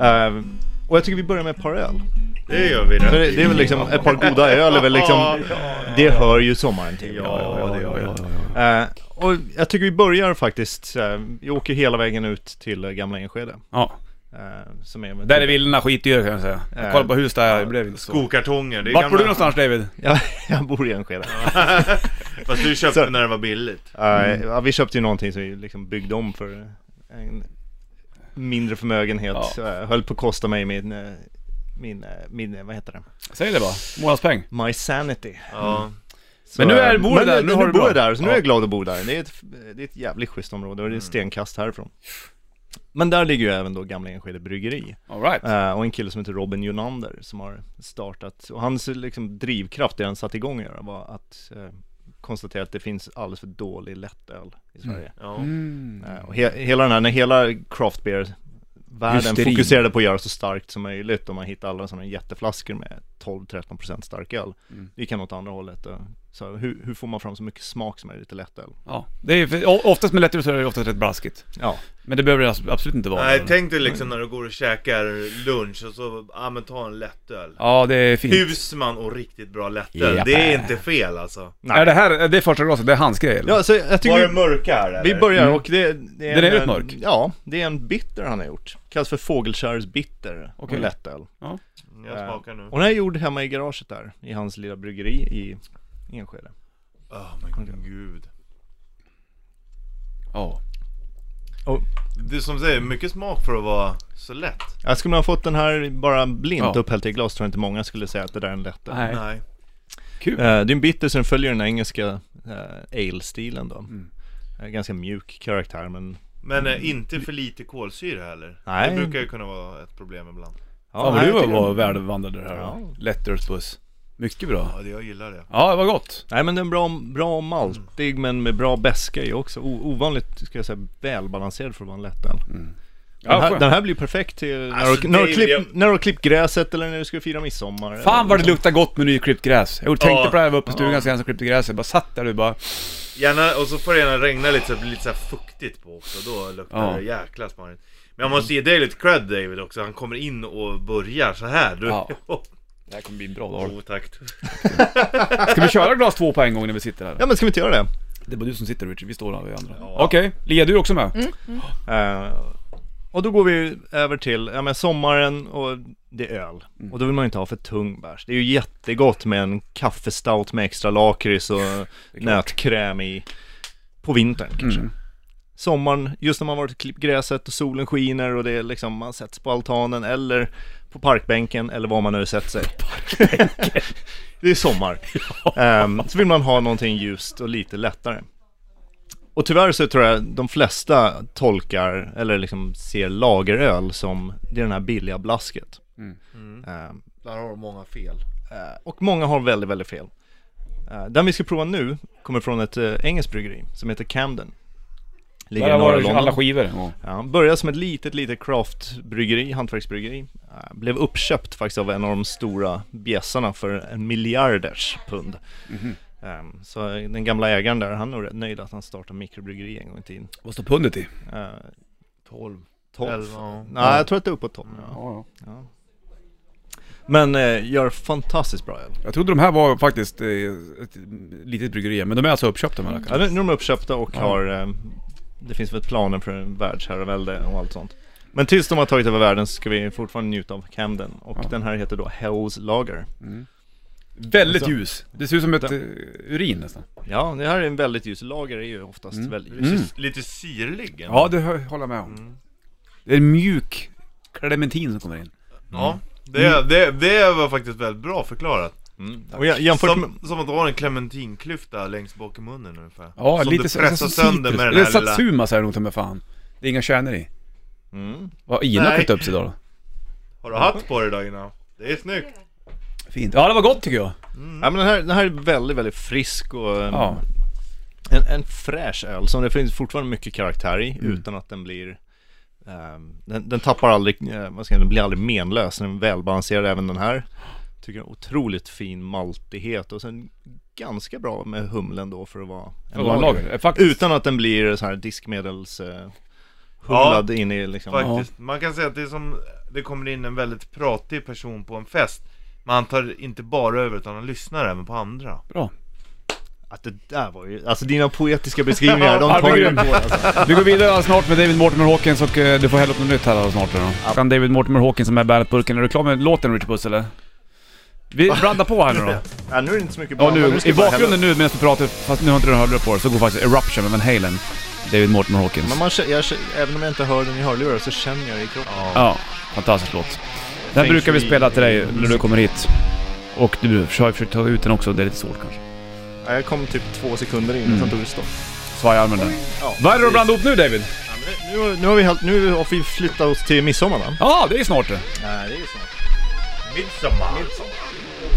Speaker 6: Ehm, och jag tycker vi börjar med ett par öl.
Speaker 2: Det gör vi
Speaker 6: För
Speaker 2: rätt
Speaker 6: det,
Speaker 2: i.
Speaker 6: det är väl liksom, ett par goda öl är väl
Speaker 2: Ja,
Speaker 6: liksom,
Speaker 2: ja,
Speaker 6: det hör ju sommaren till.
Speaker 2: Ja, det gör jag.
Speaker 6: Eh, och jag tycker vi börjar faktiskt, eh, vi åker hela vägen ut till eh, Gamla Enskede.
Speaker 1: Ja.
Speaker 6: Eh, som är
Speaker 1: Där är villorna skitdyra kan jag säga. Jag
Speaker 6: Eh,
Speaker 1: kollade på hus där, det blev inte så.
Speaker 2: Skokartonger. Det är
Speaker 1: Vart
Speaker 2: gamla-
Speaker 1: bor du någonstans David?
Speaker 6: Jag, jag bor i Enskede.
Speaker 2: Fast du köpte
Speaker 6: Så-
Speaker 2: när det var billigt.
Speaker 6: Eh, ja, vi köpte ju någonting som vi liksom byggde om för en mindre förmögenhet.
Speaker 1: Ja.
Speaker 6: Eh, höll på att kosta mig min, eh, min, eh, min, eh, vad heter det?
Speaker 1: Säg det bara. Månadspeng.
Speaker 6: My sanity.
Speaker 2: Ja.
Speaker 6: Så,
Speaker 1: Men nu är-
Speaker 6: eh,
Speaker 1: bor du
Speaker 6: men
Speaker 1: där,
Speaker 6: nu,
Speaker 1: nu har du
Speaker 6: bor
Speaker 1: bra.
Speaker 6: jag där, så nu
Speaker 1: Ja. Mm.
Speaker 6: är jag glad att bo där. Det är ett, det är ett jävligt schysst område och det är stenkast härifrån. Men där ligger ju även då Gamla Enskede Bryggeri.
Speaker 1: Alright.
Speaker 6: Eh, och en kille som heter Robin Jonander som har startat, och hans liksom, drivkraft, det han satte igång att göra var att eh, konstatera att det finns alldeles för dålig lättöl i
Speaker 1: Mm.
Speaker 6: Sverige.
Speaker 2: ja.
Speaker 6: Eh, och he- hela den här, när hela craft beer världen
Speaker 1: Hysterin.
Speaker 6: fokuserade på att göra så starkt som möjligt och man hittade alla sådana jätteflaskor med 12-13% stark öl.
Speaker 1: Mm.
Speaker 6: Det gick han åt andra hållet. Och, så hur, hur får man fram så mycket smak som möjligt i lättöl?
Speaker 1: Ja. Det är, för- o- oftast med lättöl så är det oftast rätt braskigt.
Speaker 6: Ja,
Speaker 1: Men det behöver det alltså absolut inte vara.
Speaker 2: Nej, tänk dig liksom när du går och käkar lunch och så, ja men ta en lättöl.
Speaker 1: Ja, det är fint.
Speaker 2: Husman och riktigt bra lättöl.
Speaker 1: Japp.
Speaker 2: Det är inte fel alltså.
Speaker 1: Är det här, är det första glaset, det är hans grej eller?
Speaker 6: ja så jag tycker
Speaker 2: Var det
Speaker 6: vi,
Speaker 2: mörka här eller?
Speaker 6: vi börjar och det, det
Speaker 1: Mm. Den är
Speaker 6: en-
Speaker 1: rätt mörk.
Speaker 6: Ja, det är en bitter han har gjort. Kallas för Fågelkärs bitter, och
Speaker 1: Okej.
Speaker 6: lättöl.
Speaker 2: Jag smakar nu.
Speaker 6: Och den är gjord hemma i garaget där, i hans lilla bryggeri i Enskede.
Speaker 2: Åh men gud.
Speaker 1: Ja.
Speaker 2: Du som säger, mycket smak för att vara så lätt.
Speaker 6: Ja, skulle man ha fått den här bara blint
Speaker 1: Ja.
Speaker 6: upphällt i glas tror jag inte många skulle säga att det där är en lättare.
Speaker 1: Nej.
Speaker 2: Nej.
Speaker 1: Kul.
Speaker 6: Eh, det är en bitter som följer den engelska eh, ale-stilen då.
Speaker 1: Mm.
Speaker 6: Eh, ganska mjuk karaktär men...
Speaker 2: Men eh, inte för lite kolsyra heller.
Speaker 6: Nej.
Speaker 2: Det brukar ju kunna vara ett problem ibland.
Speaker 1: Fan vad
Speaker 6: nej,
Speaker 1: du
Speaker 6: jag tycker-
Speaker 1: var välvandrad där. Ja.
Speaker 6: Ja.
Speaker 1: Lättölsbuss. Mycket bra.
Speaker 2: Ja, det- jag gillar det.
Speaker 1: Ja, det var gott.
Speaker 6: Nej men den är bra, bra maltig
Speaker 1: Mm.
Speaker 6: men med bra beska i också. O- ovanligt, ska jag säga, välbalanserad för att vara en lättöl. Den,
Speaker 1: Mm. Ja,
Speaker 6: här-
Speaker 1: skönt.
Speaker 6: den här blir perfekt till
Speaker 2: Alltså,
Speaker 6: när, du, när, du
Speaker 2: Dave,
Speaker 6: klipp,
Speaker 2: jag-
Speaker 6: när du har klippt gräset eller när du ska fira midsommar.
Speaker 1: Fan vad det luktar gott med nyklippt gräs. Jag tänkte på
Speaker 2: Ja.
Speaker 1: det här, jag var uppe i stugan sen som klippte gräset. Bara satt där och bara...
Speaker 2: Gärna, och så får det gärna regna lite så det blir lite så här fuktigt på också, då luktar
Speaker 1: Ja.
Speaker 2: det jäkla smarrigt. Men jag måste ge dig lite cred David också, han kommer in och börjar så här. Du... Oh,
Speaker 1: Ja.
Speaker 2: Ja.
Speaker 1: Det här kommer bli en bra dag.
Speaker 2: Otakt.
Speaker 1: Ska vi köra glas två på en gång när vi sitter här?
Speaker 6: Ja men ska vi inte göra det?
Speaker 1: Det är bara du som sitter Richard, vi står där vi andra.
Speaker 2: Ja.
Speaker 1: Okej, Lia du är också med?
Speaker 6: Eh, och då går vi över till, ja men sommaren och det är öl. Och då vill man ju inte ha för tung bärs. Det är ju jättegott med en kaffestout med extra lakrits och nötkräm i. På vintern kanske. Sommaren, just när man varit och klippt gräset och solen skiner och det är liksom, man sätts på altanen eller på parkbänken eller var man nu sätter sig. det är sommar. Ehm, så vill man ha någonting ljust och lite lättare. Och tyvärr så tror jag de flesta tolkar, eller liksom ser lageröl som det är den här billiga blasket. Ehm,
Speaker 2: Där har många fel.
Speaker 6: eh, och många har väldigt, väldigt fel. Eh, den vi ska prova nu kommer från ett eh, engelskt bryggeri som heter Camden. Ligger
Speaker 1: Där
Speaker 6: i norra
Speaker 1: har du alla
Speaker 6: London.
Speaker 1: skivor en gång.
Speaker 6: Ja, började som ett litet, litet craftbryggeri, hantverksbryggeri. Eh, Blev uppköpt faktiskt av en av de stora bjässarna för en miljarders pund.
Speaker 1: Mhm.
Speaker 6: Eh, Så den gamla ägaren där, han är nog rätt nöjd att han startade mikrobryggeri en gång i tiden.
Speaker 1: Vad står pundet i?
Speaker 6: Eh,
Speaker 2: 12.
Speaker 6: 12.
Speaker 2: ja.
Speaker 6: Nej, jag tror att det är uppåt 12. Ja. Men eh, gör fantastiskt bra öl.
Speaker 1: Jag trodde de här var faktiskt eh, ett litet bryggeri, men de är alltså uppköpta de här
Speaker 6: Ja,
Speaker 1: rackarna.
Speaker 6: nu nu är de uppköpta och har, eh, det finns väl planer för en världsherravälde och allt sånt. Men tills de har tagit över världen så ska vi fortfarande njuta av Camden och den här heter då Hells Lager.
Speaker 1: Mm. Väldigt
Speaker 6: Alltså.
Speaker 1: ljus. Det ser ut som ett eh, urin nästan.
Speaker 6: Ja, det här är en väldigt ljus, lager är ju oftast väldigt ljus.
Speaker 2: Lite, lite syrlig. ändå.
Speaker 1: Ja, det hö- håller jag med om. Det är en mjuk clementin som kommer in.
Speaker 2: ja.
Speaker 1: Mm.
Speaker 2: Det, det, det var faktiskt väldigt bra förklarat.
Speaker 6: Och jag, jämfört med,
Speaker 2: Som, som att du har en clementinklyfta längst bak i munnen ungefär.
Speaker 1: Ja,
Speaker 2: som
Speaker 1: lite
Speaker 2: du
Speaker 1: så-
Speaker 2: pressar
Speaker 1: så- så
Speaker 2: sönder
Speaker 1: citrus.
Speaker 2: med den
Speaker 1: Eller
Speaker 2: här lilla...
Speaker 1: satsuma säger nog ta mig fan. Det är inga kärnor i.
Speaker 6: mm,
Speaker 1: Vad har Ina
Speaker 2: Nej.
Speaker 1: klätt upp sig idag då?
Speaker 2: Har du hatt på dig idag innan? Det är snyggt.
Speaker 1: Fint. Ja, det var gott tycker jag.
Speaker 6: ja, men den, här, den här är väldigt, väldigt frisk och eh,
Speaker 1: Ja.
Speaker 6: en, en fräsch öl som det finns fortfarande mycket karaktär i
Speaker 1: Mm.
Speaker 6: utan att den blir ehm, den, den tappar aldrig, eh, vad ska jag säga, den blir aldrig menlös, den är välbalanserad även den här Tycker jag, otroligt fin maltighet och sen ganska bra med humlen då för att vara
Speaker 1: Det var en lager. Eh, Faktiskt.
Speaker 6: Utan att den blir så här diskmedels eh, humlad in i liksom
Speaker 2: Faktiskt. Man kan säga att det är som, det kommer in en väldigt pratig person på en fest. Men han tar inte bara över utan han lyssnar även på andra.
Speaker 1: Bra.
Speaker 6: Att det där var ju, alltså dina poetiska beskrivningar, de
Speaker 1: Ja,
Speaker 6: tar
Speaker 1: det är
Speaker 6: ju
Speaker 1: grymt.
Speaker 6: på alltså.
Speaker 1: Vi går vidare alldeles snart med David Mortimer Hawkins och eh, du får hälla upp något nytt här alldeles snart. Då. Kan David Mortimer Hawkins som är Bandet-burken, är du klar med låten Richard Puss eller? Vi blandar på här nu då.
Speaker 6: Ja, nu är det inte så mycket
Speaker 1: Ja
Speaker 6: bra, men
Speaker 1: nu,
Speaker 6: ska
Speaker 1: i
Speaker 6: jag bara hälla-
Speaker 1: bakgrunden nu medan vi pratar, fast nu har inte du hörlurar på dig, så går faktiskt Eruption med Van Halen. David Mortimer Hawkins.
Speaker 6: Men man, kä- jag, kä- även om jag inte hör den i hörlurar så känner jag det i kroppen
Speaker 1: Ja, fantastisk låt. Den
Speaker 6: Feng
Speaker 1: brukar vi
Speaker 6: shui.
Speaker 1: spela till dig när du kommer hit. Och du har försökt ta ut den också, det är lite svårt kanske.
Speaker 6: Ja, jag kom typ två sekunder in, sen tog det stopp.
Speaker 1: Svaja armen där.
Speaker 6: Ja,
Speaker 1: Vad är det du
Speaker 6: precis.
Speaker 1: blandar ihop nu David?
Speaker 6: Eh, Nu, nu har vi, helt, nu har vi flyttat oss till midsommar va?
Speaker 1: Ja, det är snart det.
Speaker 6: Nej, det är ju snart.
Speaker 2: Midsommar.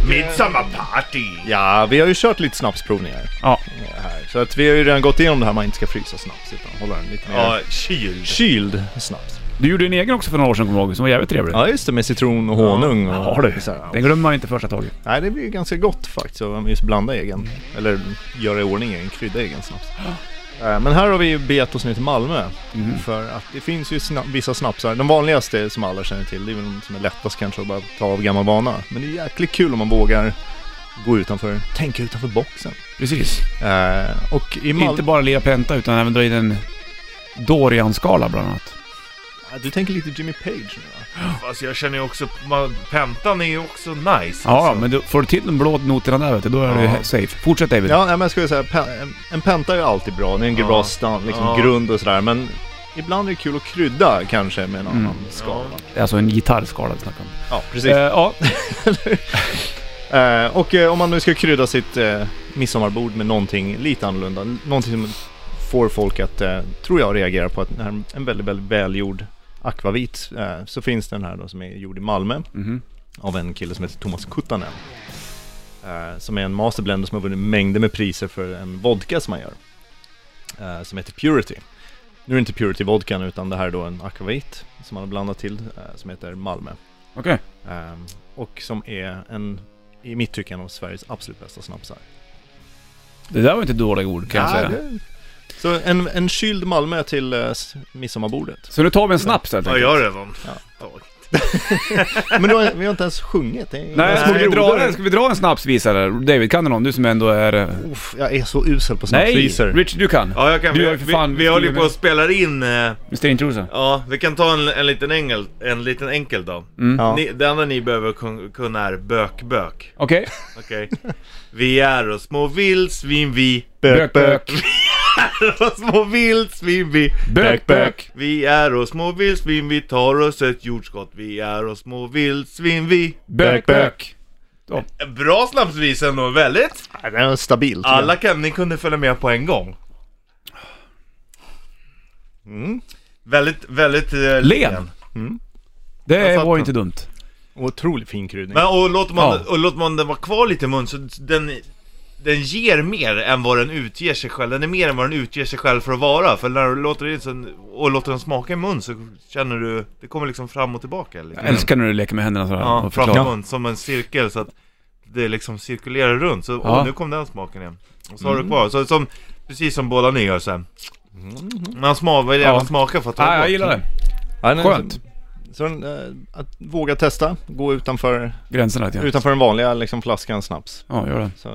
Speaker 2: Midsommarparty.
Speaker 6: Ja, vi har ju kört lite snapsprovningar
Speaker 1: Ja.
Speaker 6: här. Så att vi har ju redan gått igenom det här man inte ska frysa snaps utan hålla den lite mer
Speaker 2: Ja, kyld.
Speaker 6: kyld snaps.
Speaker 1: Du gjorde en egen också för några år sedan kommer jag ihåg, som var jävligt trevlig.
Speaker 6: Ja, just det med citron och honung och
Speaker 1: Ja, du.
Speaker 6: så här, ja.
Speaker 1: Den glömmer man inte första taget.
Speaker 6: Nej, det blir ju ganska gott faktiskt att just blanda egen. Eller göra i ordning egen, krydda egen snaps. Eh, Men här har vi ju begett oss ner till Malmö. För att det finns ju sna- vissa snapsar. Den vanligaste som alla känner till, det är väl den som är lättast kanske att bara ta av gammal vana. Men det är jäkligt kul om man vågar gå utanför, tänka utanför boxen.
Speaker 1: Precis.
Speaker 6: Eh, och i Malmö...
Speaker 1: Inte bara lira penta utan även dra in en Dorian-skala bland annat.
Speaker 6: Ja, Du tänker lite Jimmy Page nu va?
Speaker 2: Fast Alltså, jag känner ju också, man, pentan är ju också nice. alltså.
Speaker 1: Ja, men du, får du till de blå noterna där vet du, då är du
Speaker 2: Ja.
Speaker 1: he- safe. Fortsätt David.
Speaker 6: Ja, nej, men jag skulle säga, pe- en- en penta är ju alltid bra, det är en
Speaker 2: Ja.
Speaker 6: bra stan, liksom
Speaker 2: Ja.
Speaker 6: grund och sådär. Men ibland är det kul att krydda kanske med en
Speaker 2: Mm.
Speaker 6: annan skala. Ja,
Speaker 1: Mm. Det är Alltså en gitarrskala vi snackar om.
Speaker 6: precis.
Speaker 1: Eh, ja,
Speaker 6: Eh, och eh, om man nu ska krydda sitt eh, midsommarbord med någonting lite annorlunda, någonting som får folk att, eh, tror jag, reagera på att den här, en väldigt, väldigt välgjord akvavit, eh, så finns den här då som är gjord i Malmö
Speaker 1: Mhm.
Speaker 6: av en kille som heter Thomas Kuttanen. Eh, som är en masterblender som har vunnit mängder med priser för en vodka som han gör. Eh, som heter Purity. Nu är det inte Purity vodkan utan det här är då en akvavit som han har blandat till eh, som heter Malmö.
Speaker 1: okej.
Speaker 6: Ehm, och som är en, i mitt tycke, en av Sveriges absolut bästa snapsar.
Speaker 1: Det där var inte dåliga ord kan jag säga.
Speaker 6: Så en, en kyld Malmö till eh, s- midsommarbordet.
Speaker 1: Så nu tar vi en snaps helt
Speaker 2: Vad
Speaker 1: enkelt.
Speaker 2: gör det Von?
Speaker 6: Ja.
Speaker 2: Ja.
Speaker 6: Men då, har- vi har inte ens sjungit. Det är
Speaker 1: Nej,
Speaker 6: inga
Speaker 1: ska vi,
Speaker 6: små
Speaker 1: dra,
Speaker 6: grodor.
Speaker 1: en- ska vi dra en snapsvisa där? David, kan du någon? Du som ändå är... eh,
Speaker 6: Uff, jag är så usel på
Speaker 1: Nej!
Speaker 6: snapsvisor.
Speaker 1: Richard, du kan.
Speaker 2: Ja, jag kan.
Speaker 1: Du har
Speaker 2: vi,
Speaker 1: ju för fan
Speaker 2: vi, vi håller ju
Speaker 1: skrivit-
Speaker 2: på och spelar in... Eh,
Speaker 1: Mr Intrusa.
Speaker 2: ja, vi kan ta en, en, liten, engel, en liten enkel då.
Speaker 1: Mm.
Speaker 6: Ja.
Speaker 2: Ni, det enda ni behöver kun, kunna är bök-bök.
Speaker 1: Okej.
Speaker 2: Okej? vi är och små vildsvin vi.
Speaker 1: Bök, bök.
Speaker 2: Och små vildsvin vi.
Speaker 1: Bök, bök.
Speaker 2: Vi är och små vildsvin vi tar oss ett jordskott. Vi är och små vildsvin vi.
Speaker 1: Bök, bök.
Speaker 2: En Bra snapsvis ändå, väldigt.
Speaker 6: Nej, Det är stabilt.
Speaker 2: Alla kan, ni kunde följa med på en gång.
Speaker 6: Mm.
Speaker 2: Väldigt, väldigt... eh, len.
Speaker 1: Det
Speaker 2: fattar.
Speaker 1: var ju inte dumt.
Speaker 6: Otroligt fin kryddning.
Speaker 2: Men och låter man,
Speaker 1: Ja.
Speaker 2: och låter man den vara kvar lite i mun så den, den ger mer än vad den utger sig själv. Den är mer än vad den utger sig själv för att vara. För när du låter den in så, och låter den smaka i mun så känner du, det kommer liksom fram och tillbaka lite.
Speaker 1: Jag älskar när du leker med händerna sådär
Speaker 2: Ja,
Speaker 1: och
Speaker 2: fram och
Speaker 1: förklarar.
Speaker 2: mun, som en cirkel så att det liksom cirkulerar runt. Så
Speaker 1: Ja.
Speaker 2: åh, nu kom den smaken igen. Och så har du kvar, så, som, precis som båda ni gör såhär. Man sma, vad är det
Speaker 1: Ja.
Speaker 2: man smakar för att ta
Speaker 1: Ja, Ah, jag
Speaker 2: bort?
Speaker 1: gillar det.
Speaker 6: Ja, den är-
Speaker 1: Skönt.
Speaker 6: Så den, eh, att våga testa, gå utanför,
Speaker 1: Gränserna lite grann.
Speaker 6: utanför den vanliga liksom, flaskan snaps.
Speaker 1: Ja, gör det.
Speaker 6: Så,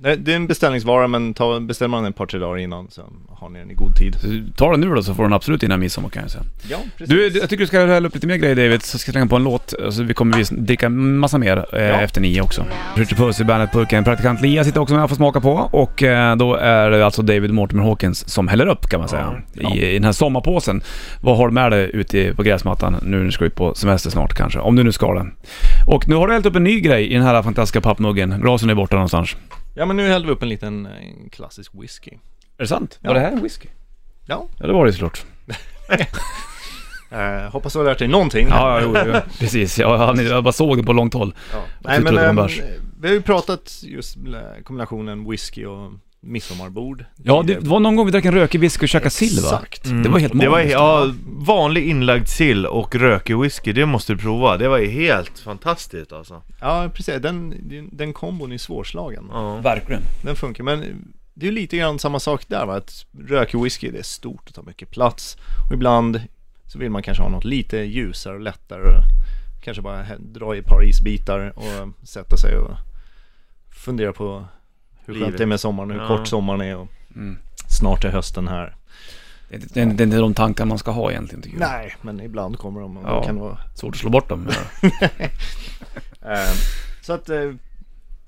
Speaker 6: det, det är en beställningsvara men ta, beställer man den ett par tre dagar innan så har ni den i god tid.
Speaker 1: Så Ta den nu då så får den absolut innan midsommar kan jag säga.
Speaker 6: Ja, precis.
Speaker 1: Du, du, jag tycker du ska hälla upp lite mer grejer David, så ska jag slänga på en låt. Så vi kommer visst dricka massa mer eh, efter nio också. Richard Puss i bandet Purken. Praktikant Lia sitter också med och får smaka på. Och eh, då är det alltså David Mortimer Hawkins som häller upp kan man säga. I, I den här sommarpåsen. Vad har du med dig ute på gräsmattan nu när du ska ut på semester snart kanske? Om du nu ska det. Och nu har du hällt upp en ny grej i den här fantastiska pappmuggen. Glasen är borta någonstans.
Speaker 6: Ja men nu hällde vi upp en liten eh, en klassisk whisky.
Speaker 1: Är det sant?
Speaker 6: Var det
Speaker 1: här en whisky?
Speaker 6: Ja.
Speaker 1: Ja det var det ju såklart.
Speaker 6: Eh, hoppas du har lärt dig någonting.
Speaker 1: Ja, ja, jo, jo. precis. Jag, jag, jag bara såg det på långt håll.
Speaker 6: Ja. Nej
Speaker 1: trodde
Speaker 6: men
Speaker 1: det var en
Speaker 6: ehm,
Speaker 1: bärs.
Speaker 6: vi har ju pratat just eh, kombinationen whisky och midsommarbord.
Speaker 1: Ja, det var någon gång vi drack en rökig whisky och käkade sill va?
Speaker 6: Exakt.
Speaker 1: Det var helt
Speaker 2: Mm. Det var
Speaker 1: magiskt.
Speaker 2: ja, vanlig inlagd sill och rökig whisky, det måste du prova. Det var ju helt fantastiskt alltså.
Speaker 6: Ja precis, den, den kombon är svårslagen.
Speaker 2: Ja.
Speaker 1: Verkligen.
Speaker 6: Den funkar, men det är ju lite grann samma sak där va, att rökig whisky det är stort och tar mycket plats och ibland så vill man kanske ha något lite ljusare och lättare och kanske bara he- dra i ett par isbitar och sätta sig och fundera på hur skönt
Speaker 2: Livet.
Speaker 6: det är med sommaren, hur
Speaker 2: Ja.
Speaker 6: kort sommaren är och
Speaker 1: Mm.
Speaker 6: snart är hösten här.
Speaker 1: Det, det, det är inte de tankar man ska ha egentligen tycker jag.
Speaker 6: Nej, men ibland kommer de och
Speaker 1: Ja.
Speaker 6: kan vara...
Speaker 1: Svårt att slå bort dem.
Speaker 6: Eh, så att eh,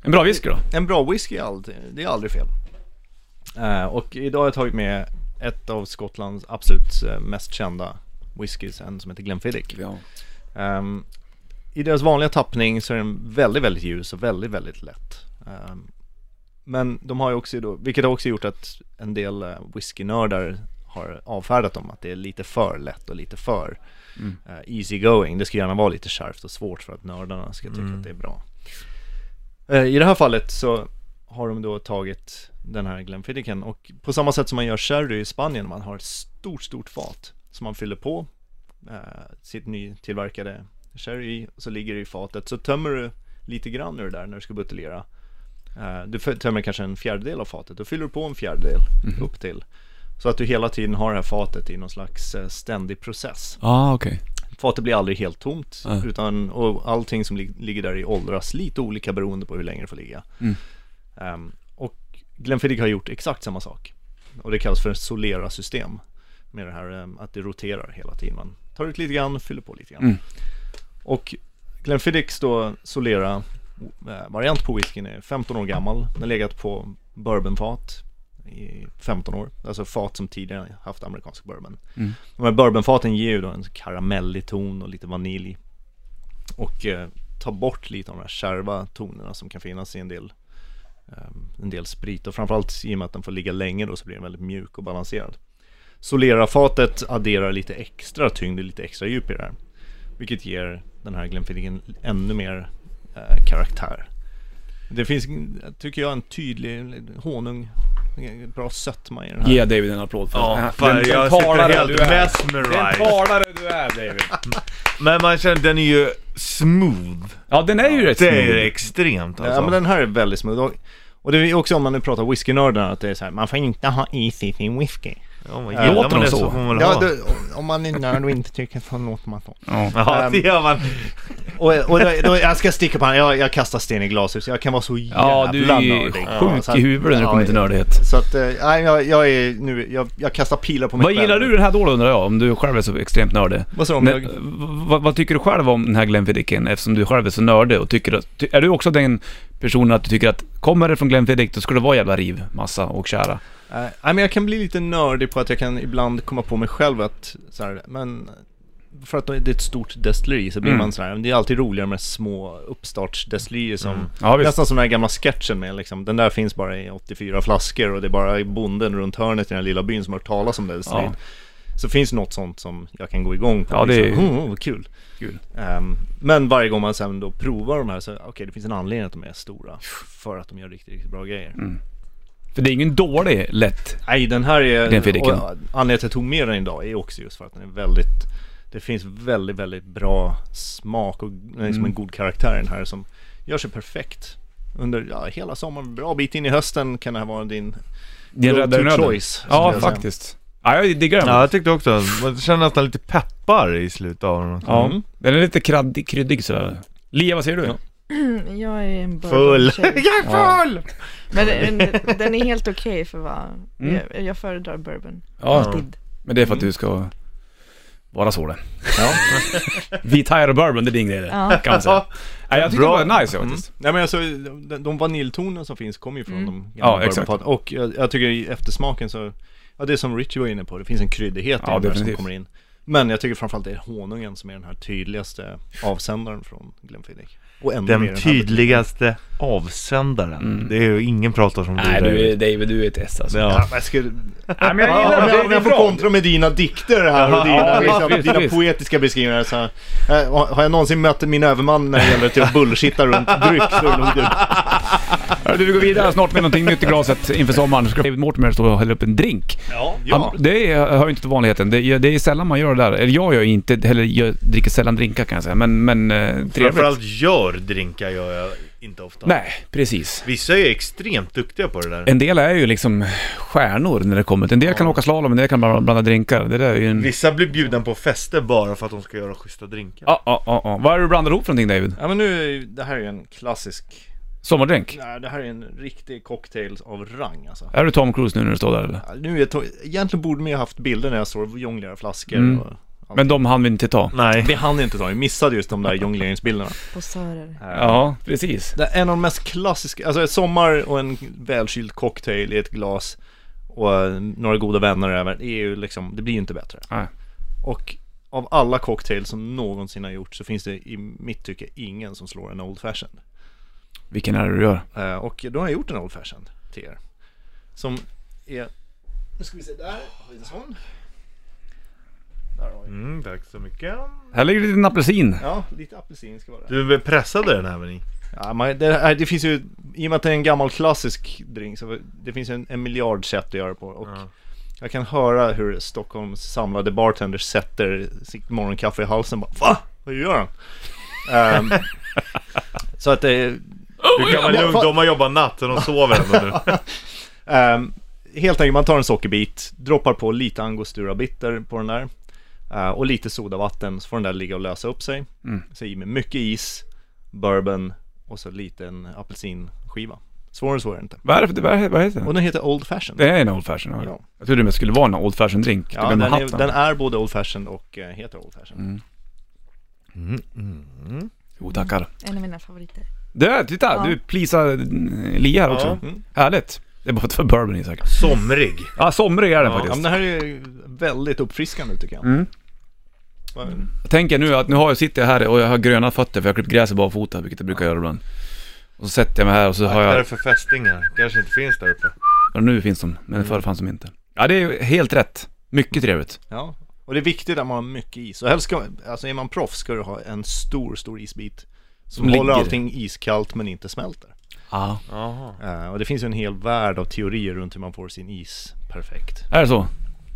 Speaker 1: en bra whisky då.
Speaker 6: en bra whisky är aldrig, det är aldrig fel. Eh, och idag har jag tagit med ett av Skottlands absolut eh, mest kända whiskys, en som heter Glenfiddich.
Speaker 1: Ja.
Speaker 6: Ehm, I deras vanliga tappning så är den väldigt, väldigt ljus och väldigt, väldigt lätt. Ehm, men de har ju också då, vilket har också gjort att en del eh, whiskynördar har avfärdat dem, att det är lite för lätt och lite för
Speaker 1: Mm.
Speaker 6: eh, easy going. Det ska gärna vara lite kärvt och svårt för att nördarna ska tycka att det är bra. Eh, I det här fallet så har de då tagit den här Glenfiddichen och på samma sätt som man gör sherry i Spanien, man har ett stort, stort fat som man fyller på eh, sitt nytillverkade sherry i, och så ligger det i fatet. Så tömmer du lite grann ur det där när du ska buteljera. Eh, du f- tömmer kanske en fjärdedel av fatet, då fyller du på en fjärdedel upp till. Så att du hela tiden har det här fatet i någon slags eh, ständig process.
Speaker 1: Ah, okej.
Speaker 6: Fatet blir aldrig helt tomt
Speaker 1: Nej.
Speaker 6: utan, och allting som lig- ligger där i åldras lite olika beroende på hur länge det får ligga.
Speaker 1: Mm.
Speaker 6: Ehm, och Glenfiddich har gjort exakt samma sak. Och det kallas för solera system. Med det här ehm, att det roterar hela tiden. Man Tar ut lite grann, fyller på lite grann.
Speaker 1: Mm.
Speaker 6: Och Glenfiddich då, Solera, eh, variant på whiskyn är 15 år gammal. Den har legat på bourbonfat i 15 år. Alltså fat som tidigare haft amerikansk bourbon.
Speaker 1: Mm.
Speaker 6: De här bourbonfaten ger ju då en karamellig ton och lite vanilj. Och eh, tar bort lite av de här kärva tonerna som kan finnas i en del eh, en del sprit och framförallt i och med att den får ligga länge då så blir den väldigt mjuk och balanserad. Solera-fatet adderar lite extra tyngd och lite extra djup i det här. Vilket ger den här Glenfiddichen ännu mer eh, karaktär. Det finns, tycker jag, en tydlig honung, en bra sötma i den här.
Speaker 1: Ge David en applåd för
Speaker 2: Ja,
Speaker 1: den-
Speaker 2: fan,
Speaker 1: den
Speaker 2: jag
Speaker 1: talare
Speaker 2: sitter helt
Speaker 1: du är. Den
Speaker 2: mesmerized.
Speaker 1: talare du är David.
Speaker 2: Men man känner, den är ju smooth.
Speaker 1: Ja den är ju rätt
Speaker 2: Det är ju
Speaker 1: snygg.
Speaker 2: extremt alltså.
Speaker 6: Ja men den här är väldigt smooth. Och, och det är också om man nu pratar whiskynördarna att det är så här, man får inte ha is i sin whisky.
Speaker 2: Ja, men
Speaker 6: Låter
Speaker 2: gillar man
Speaker 1: de
Speaker 2: det
Speaker 1: så?
Speaker 2: så, får man väl
Speaker 6: Ja,
Speaker 2: ha.
Speaker 6: det, om man är nörd och inte tycker så låter man så.
Speaker 2: Ja,
Speaker 6: Ehm.
Speaker 2: det gör man.
Speaker 6: Och, och då, då, jag ska sticka på han. jag, jag kastar sten i glashus, jag kan vara så jävla
Speaker 1: Ja du är ju
Speaker 6: nördig. Ja,
Speaker 1: sjuk
Speaker 6: så att-
Speaker 1: i huvudet när det
Speaker 6: ja,
Speaker 1: kommer till nördighet.
Speaker 6: Så att, eh, nej jag, jag är nu, jag, jag kastar pilar på mig
Speaker 1: Vad gillar du den här då undrar jag, om du själv är så extremt nördig?
Speaker 6: Vad sa du om
Speaker 1: Nej,
Speaker 6: jag?
Speaker 1: v- vad, vad tycker du själv om den här Glenfiddichen eftersom du själv är så nördig och tycker att, ty, Är du också den personen att du tycker att kommer det från Glenfiddich då ska det vara jävla riv, massa och kära?
Speaker 6: Eh, Nej men jag kan bli lite nördig på att jag kan ibland komma på mig själv att så här, men för att det är ett stort destilleri så blir
Speaker 1: Mm.
Speaker 6: man så här, men det är alltid roligare med små uppstartsdestillerier som
Speaker 1: Ja visst.
Speaker 6: Nästan som den här gamla sketchen med liksom, den där finns bara i 84 flaskor och det är bara bonden runt hörnet i den här lilla byn som har hört talas om det.
Speaker 1: Ja.
Speaker 6: Så finns något sånt som jag kan gå igång på.
Speaker 1: Ja, det är-
Speaker 6: liksom. oh, oh, vad kul.
Speaker 1: Kul.
Speaker 6: Ehm, men varje gång man sen då provar de här så, okej det finns en anledning att de är stora. För att de gör riktigt, riktigt bra grejer.
Speaker 1: För det är ingen dålig lätt.
Speaker 6: Nej, den här är...
Speaker 1: Den Fiddiken.
Speaker 6: och Anledningen till att jag tog med den idag är också just för att den är väldigt... Det finns väldigt, väldigt bra smak och liksom
Speaker 1: Mm.
Speaker 6: en god karaktär i den här som gör sig perfekt. Under ja, hela sommaren, bra bit in i hösten kan det här vara din...
Speaker 1: Din
Speaker 6: Go to
Speaker 1: räddare
Speaker 6: choice, skulle jag
Speaker 1: Ja
Speaker 6: säga.
Speaker 1: faktiskt. Ja jag diggar den.
Speaker 2: Ja,
Speaker 1: Ja.
Speaker 2: jag tyckte också, man känner nästan lite peppar i slutet av den.
Speaker 6: Mm.
Speaker 1: Den är lite kraddig, kryddig sådär. Lia vad säger du?
Speaker 6: Ja.
Speaker 4: Jag är en
Speaker 2: Full.
Speaker 4: bourbon-tjej.
Speaker 1: Ja.
Speaker 4: Men den, den- den är helt okej för vad... Jag, jag föredrar bourbon.
Speaker 1: ja.
Speaker 4: Alltid.
Speaker 1: Men det är för att du ska vara så det.
Speaker 6: Ja.
Speaker 1: Vi tire och bourbon, det är din grej det.
Speaker 4: Ja.
Speaker 1: Kan man säga. Nej jag tyckte
Speaker 2: Bra.
Speaker 1: det var nice
Speaker 6: Mm.
Speaker 1: faktiskt.
Speaker 6: Nej men alltså, de, de vaniljtonerna som finns kommer ju från de
Speaker 1: Ja,
Speaker 6: gamla
Speaker 1: exakt.
Speaker 6: bourbonfaten. Och jag, jag tycker i eftersmaken så, ja det är som Richie var inne på, det finns en kryddighet
Speaker 1: Ja,
Speaker 6: i den här som
Speaker 1: definitivt.
Speaker 6: kommer in. Men jag tycker framförallt det är honungen som är den här tydligaste avsändaren från Glenfiddich. Och ännu mer
Speaker 2: Den
Speaker 6: i den här
Speaker 2: tydligaste avsändaren. Det är ju ingen pratar som
Speaker 1: Mm. Nej
Speaker 2: du.
Speaker 1: du är
Speaker 2: David.
Speaker 1: David, du är ett S alltså.
Speaker 2: Ja.
Speaker 6: Ja, men jag skulle...
Speaker 1: Nej men
Speaker 6: Ja, om jag, om jag får kontra med dina dikter här
Speaker 1: Ja,
Speaker 6: och
Speaker 1: ja,
Speaker 6: dina,
Speaker 1: visst,
Speaker 6: liksom,
Speaker 1: visst,
Speaker 6: dina
Speaker 1: visst.
Speaker 6: poetiska beskrivningar så här. Eh, har- Har jag någonsin mött min överman när det gäller till att bullshitta runt dryck så är det nog du.
Speaker 1: Hörru, Du, vi går vidare snart med någonting nytt i glaset inför sommaren. Ska David Mortimer stå och hälla upp en drink.
Speaker 6: Ja,
Speaker 1: Han, det är, hör ju inte till vanligheten. Det, är- det är sällan man gör det där. Eller jag gör ju inte, heller jag dricker sällan drinkar kan jag säga. Men, men eh, trevligt.
Speaker 2: Framförallt gör drinkar gör jag inte ofta.
Speaker 1: Nej, Mm. precis.
Speaker 2: Vissa är extremt duktiga på det där.
Speaker 1: En del är ju liksom stjärnor när det kommer till. En del kan åka slalom, en del kan bara blanda drinkar. Det där är ju en...
Speaker 2: Vissa blir bjuden på fester bara för att de ska göra schyssta drinkar.
Speaker 1: Ja, ja, ja, ja. Vad är det du blandar ihop för någonting David?
Speaker 6: Ja men nu, är ju- det här är ju en klassisk
Speaker 1: Sommardrink?
Speaker 6: Nej, det här är en riktig cocktail av rang alltså.
Speaker 1: Är du Tom Cruise nu när du står där eller?
Speaker 6: Ja, Nu är to- Egentligen borde man ju haft bilder när jag står och jonglerar flaskor
Speaker 1: Mm.
Speaker 6: och allt.
Speaker 1: Men de hann vi inte ta.
Speaker 2: Nej.
Speaker 6: Vi hann inte ta, vi missade just de där jongleringsbilderna. Eh,
Speaker 4: Posörer.
Speaker 1: Ja, precis.
Speaker 6: Det är en av de mest klassiska, alltså en sommar och en välkyld cocktail i ett glas och eh, några goda vänner över, det är ju liksom, det blir ju inte bättre.
Speaker 1: Nej.
Speaker 6: Och av alla cocktails som någonsin har gjorts så finns det i mitt tycke ingen som slår en Old Fashioned.
Speaker 1: Vilken är det du gör?
Speaker 6: Eh, Och då har jag gjort en Old Fashioned till er. Som är... Nu ska vi se, där har vi en sån. Där har vi.
Speaker 2: Mm, tack så mycket.
Speaker 1: Här ligger det en liten apelsin.
Speaker 6: Ja, lite apelsin ska vara där.
Speaker 2: Du pressade den även i.
Speaker 6: Ja, man, det, här, det finns ju, i och med att det är en gammal klassisk drink så det finns ju en, en miljard sätt att göra det på. Och
Speaker 2: Ja.
Speaker 6: jag kan höra hur Stockholms samlade bartenders sätter sitt morgonkaffe i halsen bara Va? Vad gör han? Ehm, så att
Speaker 2: Oh,
Speaker 6: det,
Speaker 2: Du kan vara
Speaker 6: ja,
Speaker 2: lugn,
Speaker 6: fan.
Speaker 2: de har jobbat natt och de sover ändå nu.
Speaker 6: Ehm, helt enkelt, man tar en sockerbit, droppar på lite angostura bitter på den där eh, och lite sodavatten så får den där ligga och lösa upp sig.
Speaker 1: Mm.
Speaker 6: Så i med mycket is, bourbon och så lite en apelsinskiva. Svårare än så är det inte.
Speaker 1: Vad är det för, vad, vad heter
Speaker 6: Och
Speaker 1: den?
Speaker 6: den heter Old Fashion.
Speaker 1: Det är en Old Fashion, ja.
Speaker 6: Ja.
Speaker 1: Jag trodde det skulle vara en Old Fashion drink,
Speaker 6: Ja,
Speaker 1: typ
Speaker 6: den,
Speaker 1: en
Speaker 6: är,
Speaker 1: hatt.
Speaker 6: den är både Old Fashion och eh, heter Old Fashion.
Speaker 1: Mm,
Speaker 6: Mm,
Speaker 1: Jo tackar.
Speaker 4: En av mina favoriter.
Speaker 1: Du, titta,
Speaker 4: Ja.
Speaker 1: du pleasar eh, Li här också.
Speaker 6: Mm.
Speaker 1: Härligt. Det är bara för bourbon i säkert.
Speaker 2: Somrig.
Speaker 1: Ja, somrig är den
Speaker 6: Ja, men
Speaker 1: faktiskt.
Speaker 6: det här är ju väldigt uppfriskande tycker jag.
Speaker 1: Mm.
Speaker 6: Vad-
Speaker 1: Jag tänker nu att nu har jag, sitter jag här och jag har gröna fötter för jag har klippt gräset barfota, vilket jag brukar göra ibland. Och så sätter jag mig här och så har
Speaker 2: Akta dig
Speaker 1: jag...
Speaker 2: för fästingar. Kanske inte finns där uppe.
Speaker 1: Ja, nu finns de, men
Speaker 6: Mm.
Speaker 1: förr fanns de inte. Ja, det är ju helt rätt. Mycket trevligt.
Speaker 6: Ja. Och det är viktigt att man har mycket is. Och helst ska man, alltså är man proffs ska du ha en stor, stor isbit. Som
Speaker 1: Som
Speaker 6: håller
Speaker 1: ligger.
Speaker 6: allting iskallt men inte smälter.
Speaker 1: Ja.
Speaker 2: Jaha.
Speaker 6: Eh, och det finns ju en hel värld av teorier runt hur man får sin is perfekt.
Speaker 1: Är det så?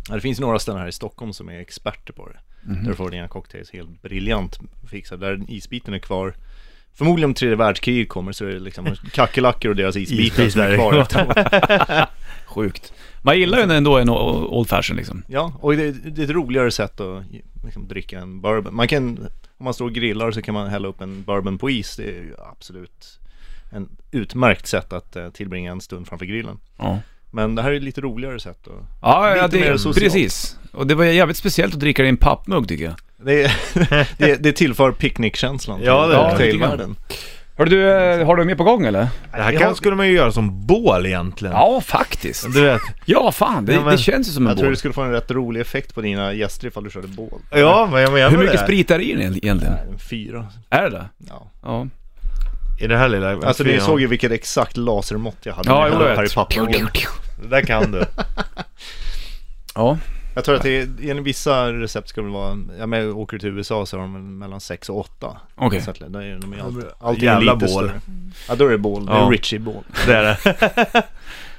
Speaker 6: Ja, det finns några ställen här i Stockholm som är experter på det.
Speaker 1: Mm,
Speaker 6: Där får du dina cocktails helt briljant fixade. Där isbiten är kvar. Förmodligen om tredje världskriget kommer så är det liksom kackerlackor och deras isbitar som är kvar efteråt.
Speaker 1: Sjukt. Man gillar
Speaker 6: Mm.
Speaker 1: ju ändå en o- Old Fashion liksom.
Speaker 6: Ja, och det, det är ett roligare sätt att liksom, dricka en bourbon. Man kan, om man står och grillar så kan man hälla upp en bourbon på is. Det är ju absolut en utmärkt sätt att eh, tillbringa en stund framför grillen.
Speaker 1: Ja.
Speaker 6: Men det här är ett lite roligare sätt att
Speaker 1: Ja, ja
Speaker 6: Lite
Speaker 1: det,
Speaker 6: mer socialt.
Speaker 1: precis. Och det var jävligt speciellt att dricka det i en pappmugg tycker jag.
Speaker 6: Det, det, det tillför picknickkänslan
Speaker 2: Ja, det
Speaker 1: gör det.
Speaker 6: cocktailvärlden.
Speaker 1: Hör du, eh, har du mer på gång eller?
Speaker 2: Det här kan, skulle man ju göra som bål egentligen.
Speaker 1: Ja, faktiskt.
Speaker 2: Du vet.
Speaker 1: Ja, fan. Det,
Speaker 2: Ja, men-
Speaker 1: det känns ju som en
Speaker 6: Jag tror
Speaker 1: bål.
Speaker 6: du skulle få en rätt rolig effekt på dina gäster ifall du körde bål.
Speaker 2: Ja, men jag menar
Speaker 1: Hur mycket
Speaker 2: det.
Speaker 1: sprit är det i den egentligen?
Speaker 6: Nej, En fyra.
Speaker 1: Är det det?
Speaker 6: Ja.
Speaker 1: Ja.
Speaker 2: I det här lilla...
Speaker 6: Alltså
Speaker 2: Fy,
Speaker 6: ni
Speaker 2: ja.
Speaker 6: såg ju vilket exakt lasermått jag hade
Speaker 1: Ja,
Speaker 6: när
Speaker 1: jo,
Speaker 6: hällde
Speaker 1: jag
Speaker 6: upp här i
Speaker 1: vet.
Speaker 6: pappmuggen.
Speaker 2: Det där kan du.
Speaker 1: Ja.
Speaker 6: Jag tror att det är, enligt vissa recept ska det vara, ja men åker du till USA så har de mellan 6 och 8.
Speaker 1: Okej.
Speaker 6: Så att de är, de är
Speaker 2: Ja,
Speaker 6: alltid,
Speaker 2: men
Speaker 6: alltid
Speaker 2: jävla
Speaker 6: lite
Speaker 2: bål.
Speaker 6: större. Ja då är det bål, det är
Speaker 2: Ja.
Speaker 6: Richie bål.
Speaker 2: Det är det.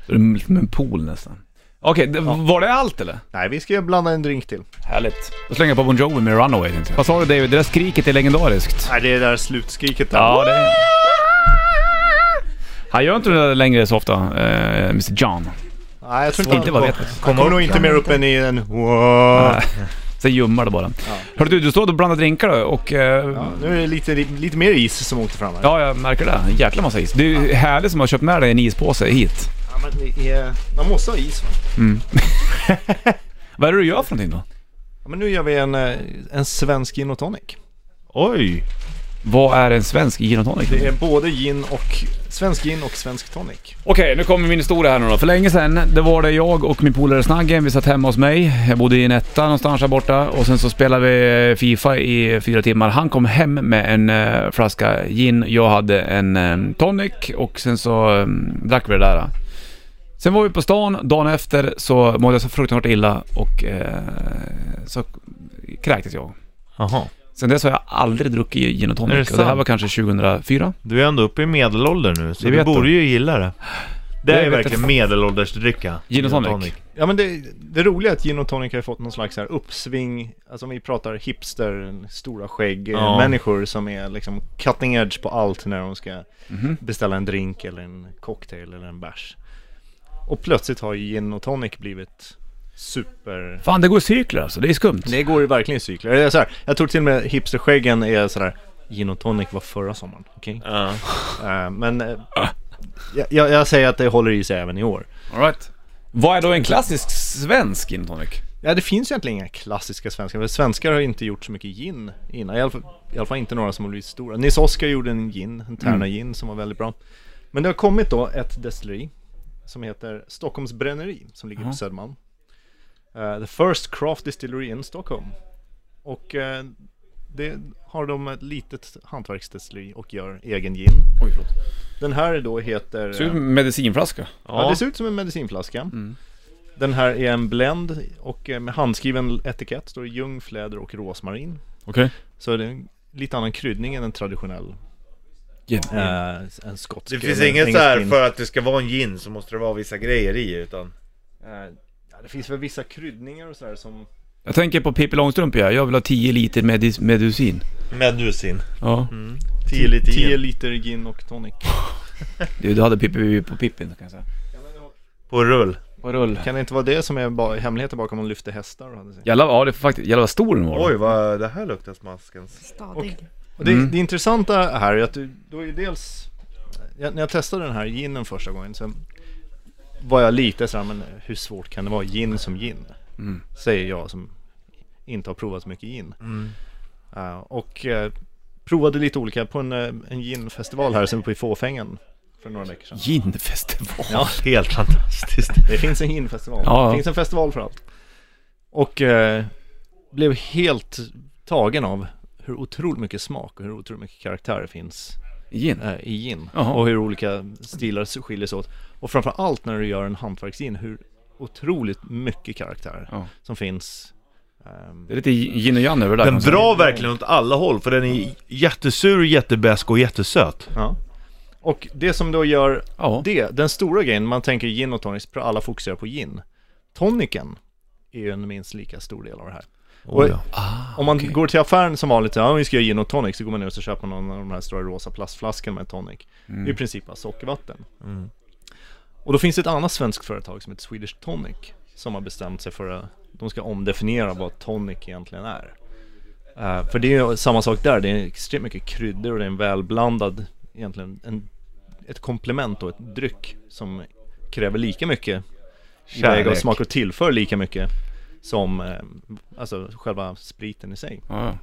Speaker 1: Det är som en pool nästan. Okej, det- var det allt eller?
Speaker 6: Nej vi ska blanda en drink till.
Speaker 1: Härligt. Då slänger jag på Bon Jovi med Runaway tänkte jag. Vad sa du David? Det där skriket är legendariskt.
Speaker 6: Nej det är det där slutskriket där.
Speaker 1: Ja, det Han gör inte det där längre så ofta, eh, Mr John.
Speaker 6: Nej jag tror inte,
Speaker 1: Inte vad jag vet.
Speaker 6: Kommer Kom nog inte mer upp än i en...
Speaker 1: Nej. Sen ljummar det bara. Hörru du, du står och blandar drinkar då och... Eh, ja.
Speaker 6: Ja, nu är det lite, lite mer is som åkte fram här.
Speaker 1: jag märker det. En jäkla massa is. Det är ju härligt som har köpt med dig en ispåse hit.
Speaker 6: Ja, men det är, man måste ha is va?
Speaker 1: Vad är det du gör för någonting då?
Speaker 6: Ja, men nu gör vi en, eh, en svensk gin och tonic.
Speaker 2: Oj!
Speaker 1: Vad är en svensk gin och tonic?
Speaker 6: Det är både gin och, svensk gin och svensk tonic.
Speaker 1: Okej, nu kommer min historia här nu då. För länge sedan, det var det jag och min polare Snaggen, vi satt hemma hos mig. Jag bodde i en etta någonstans här borta och sen så spelade vi Fifa i fyra timmar. Han kom hem med en eh, flaska gin, jag hade en eh, tonic och sen så eh, drack vi det där. Sen var vi på stan, dagen efter så mådde jag så fruktansvärt illa och eh, så kräktes jag.
Speaker 2: Jaha.
Speaker 1: Sen dess har jag aldrig druckit gin och
Speaker 2: Är det
Speaker 1: tonic och det här
Speaker 2: sant?
Speaker 1: var kanske 2004.
Speaker 2: Du är ändå uppe i medelålder nu, så
Speaker 1: Det
Speaker 2: du
Speaker 1: vet
Speaker 2: borde
Speaker 1: du.
Speaker 2: ju gilla det. Det
Speaker 1: Jag
Speaker 2: är ju
Speaker 1: vet
Speaker 2: verkligen
Speaker 1: det.
Speaker 2: medelåldersdricka.
Speaker 1: Gin och tonic.
Speaker 6: Ja men det, det roliga är att gin och tonic har ju fått någon slags så här uppsving, alltså om vi pratar hipster, stora skägg, eh,
Speaker 2: Ja.
Speaker 6: människor som är liksom cutting edge på allt när de ska
Speaker 2: Mhm.
Speaker 6: beställa en drink eller en cocktail eller en bärs. Och plötsligt har ju gin och tonic blivit super...
Speaker 1: Fan, det går i cykler alltså. Det är skumt.
Speaker 6: Det går ju verkligen i cykler. Det är så här, jag tror till och med hipsterskäggen är sådär Gin och tonic var förra sommaren, okej?
Speaker 2: Ja.
Speaker 6: Eh, men eh, jag, jag, jag säger att det håller i sig även i år.
Speaker 1: All right. Vad är då en klassisk svensk gin och tonic?
Speaker 6: Ja, det finns ju egentligen inga klassiska svenskar, för svenskar har ju inte gjort så mycket gin innan. I alla fall, i alla fall inte några som har blivit stora. Nils Oskar gjorde en gin, en Tärna
Speaker 1: Mm.
Speaker 6: gin som var väldigt bra. Men det har kommit då ett destilleri som heter Stockholms Bränneri som ligger på Södermalm. Eh, the first craft distillery in Stockholm. Och eh, det har de ett litet hantverksdestilleri och gör egen gin.
Speaker 1: Oj, förlåt.
Speaker 6: Den här då heter...
Speaker 1: Ser ut som en medicinflaska.
Speaker 6: Ja, Mm. det ser ut som en medicinflaska. Den här är en blend och eh, med handskriven etikett står det ljung, fläder och rosmarin.
Speaker 1: Okej.
Speaker 6: Så det är en lite annan kryddning än en traditionell,
Speaker 1: Gin.
Speaker 6: eh, en skotsk.
Speaker 2: Det finns
Speaker 6: eller en
Speaker 2: inget så
Speaker 6: engelsk
Speaker 2: här
Speaker 6: gin.
Speaker 2: för att det ska vara en gin så måste det vara vissa grejer i utan...
Speaker 6: Eh, ja, det finns väl vissa kryddningar och sådär som...
Speaker 1: Jag tänker på Pippi Långstrump ja. Jag vill ha 10 liter medis- Mm. medusin.
Speaker 2: Medusin.
Speaker 1: Ja.
Speaker 2: 10 liter
Speaker 6: 10
Speaker 2: gin.
Speaker 6: liter gin och tonic.
Speaker 1: Du, du hade Pippi på Pippin kan jag säga.
Speaker 2: På rull.
Speaker 1: På rull.
Speaker 6: Kan det inte vara det som är ba- hemligheten bakom att lyfta hästar? Och hade sig?
Speaker 1: Jävlar, ja det är faktiskt, jävlar vad stor den var.
Speaker 2: Oj, vad det här luktar smaskens.
Speaker 4: Stadig.
Speaker 1: Mm.
Speaker 6: Och det, det intressanta här är att du, då är ju dels jag, när jag testade den här ginen första gången så var jag lite sådär, men hur svårt kan det vara? Gin som gin,
Speaker 1: Mm.
Speaker 6: säger jag som inte har provat så mycket gin. Eh, och eh, provade lite olika på en, eh, en ginfestival här som på i Fåfängen för några veckor sedan.
Speaker 1: Ginfestival.
Speaker 6: Ja,
Speaker 2: Helt fantastiskt.
Speaker 6: det finns en ginfestival.
Speaker 1: Ja, ja.
Speaker 6: Det finns en festival för allt. Och eh, blev helt tagen av hur otroligt mycket smak och hur otroligt mycket karaktär det finns
Speaker 1: Gin.
Speaker 6: eh, i gin.
Speaker 1: Jaha.
Speaker 6: Och hur olika stilar skiljer sig åt. Och framför allt när du gör en hantverksgin, hur otroligt mycket karaktär
Speaker 1: Ja.
Speaker 6: som finns. ehm,
Speaker 1: Det är lite gin och jan över det där.
Speaker 2: Den drar verkligen åt alla håll för den är jättesur, jättebäsk och jättesöt.
Speaker 6: ja. Och det som då gör
Speaker 1: Ja.
Speaker 6: det, den stora grejen, man tänker gin och tonic, alla fokuserar på gin. Toniken är ju en minst lika stor del av det här.
Speaker 2: Oj,
Speaker 6: Och-
Speaker 1: Ah,
Speaker 6: Om man går till affären som vanligt, ja vi ska göra gin och tonic, så går man ner och så köper man någon av de här stora rosa plastflaskorna med tonic. Det är i princip bara sockervatten. Och då finns det ett annat svenskt företag som heter Swedish Tonic, som har bestämt sig för att de ska omdefiniera vad tonic egentligen är. Eh, för det är ju samma sak där, det är extremt mycket kryddor och det är en välblandad, egentligen en, ett komplement och ett dryck som kräver lika mycket i väg och
Speaker 2: Kärlek.
Speaker 6: smak och tillför lika mycket som eh, alltså själva spriten i sig.
Speaker 1: Ja, ja.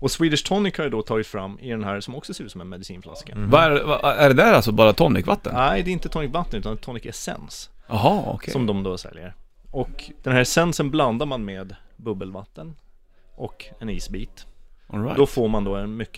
Speaker 6: Och Swedish Tonic har ju då tagit fram i den här som också ser ut som en medicinflaska.
Speaker 1: Vad är, vad, är det där alltså bara tonicvatten?
Speaker 6: Nej, det är inte tonic vatten utan tonic essens
Speaker 1: Jaha, okej.
Speaker 6: som de då säljer. Och den här essensen blandar man med bubbelvatten och en isbit.
Speaker 1: All right.
Speaker 6: Då får man då en mycket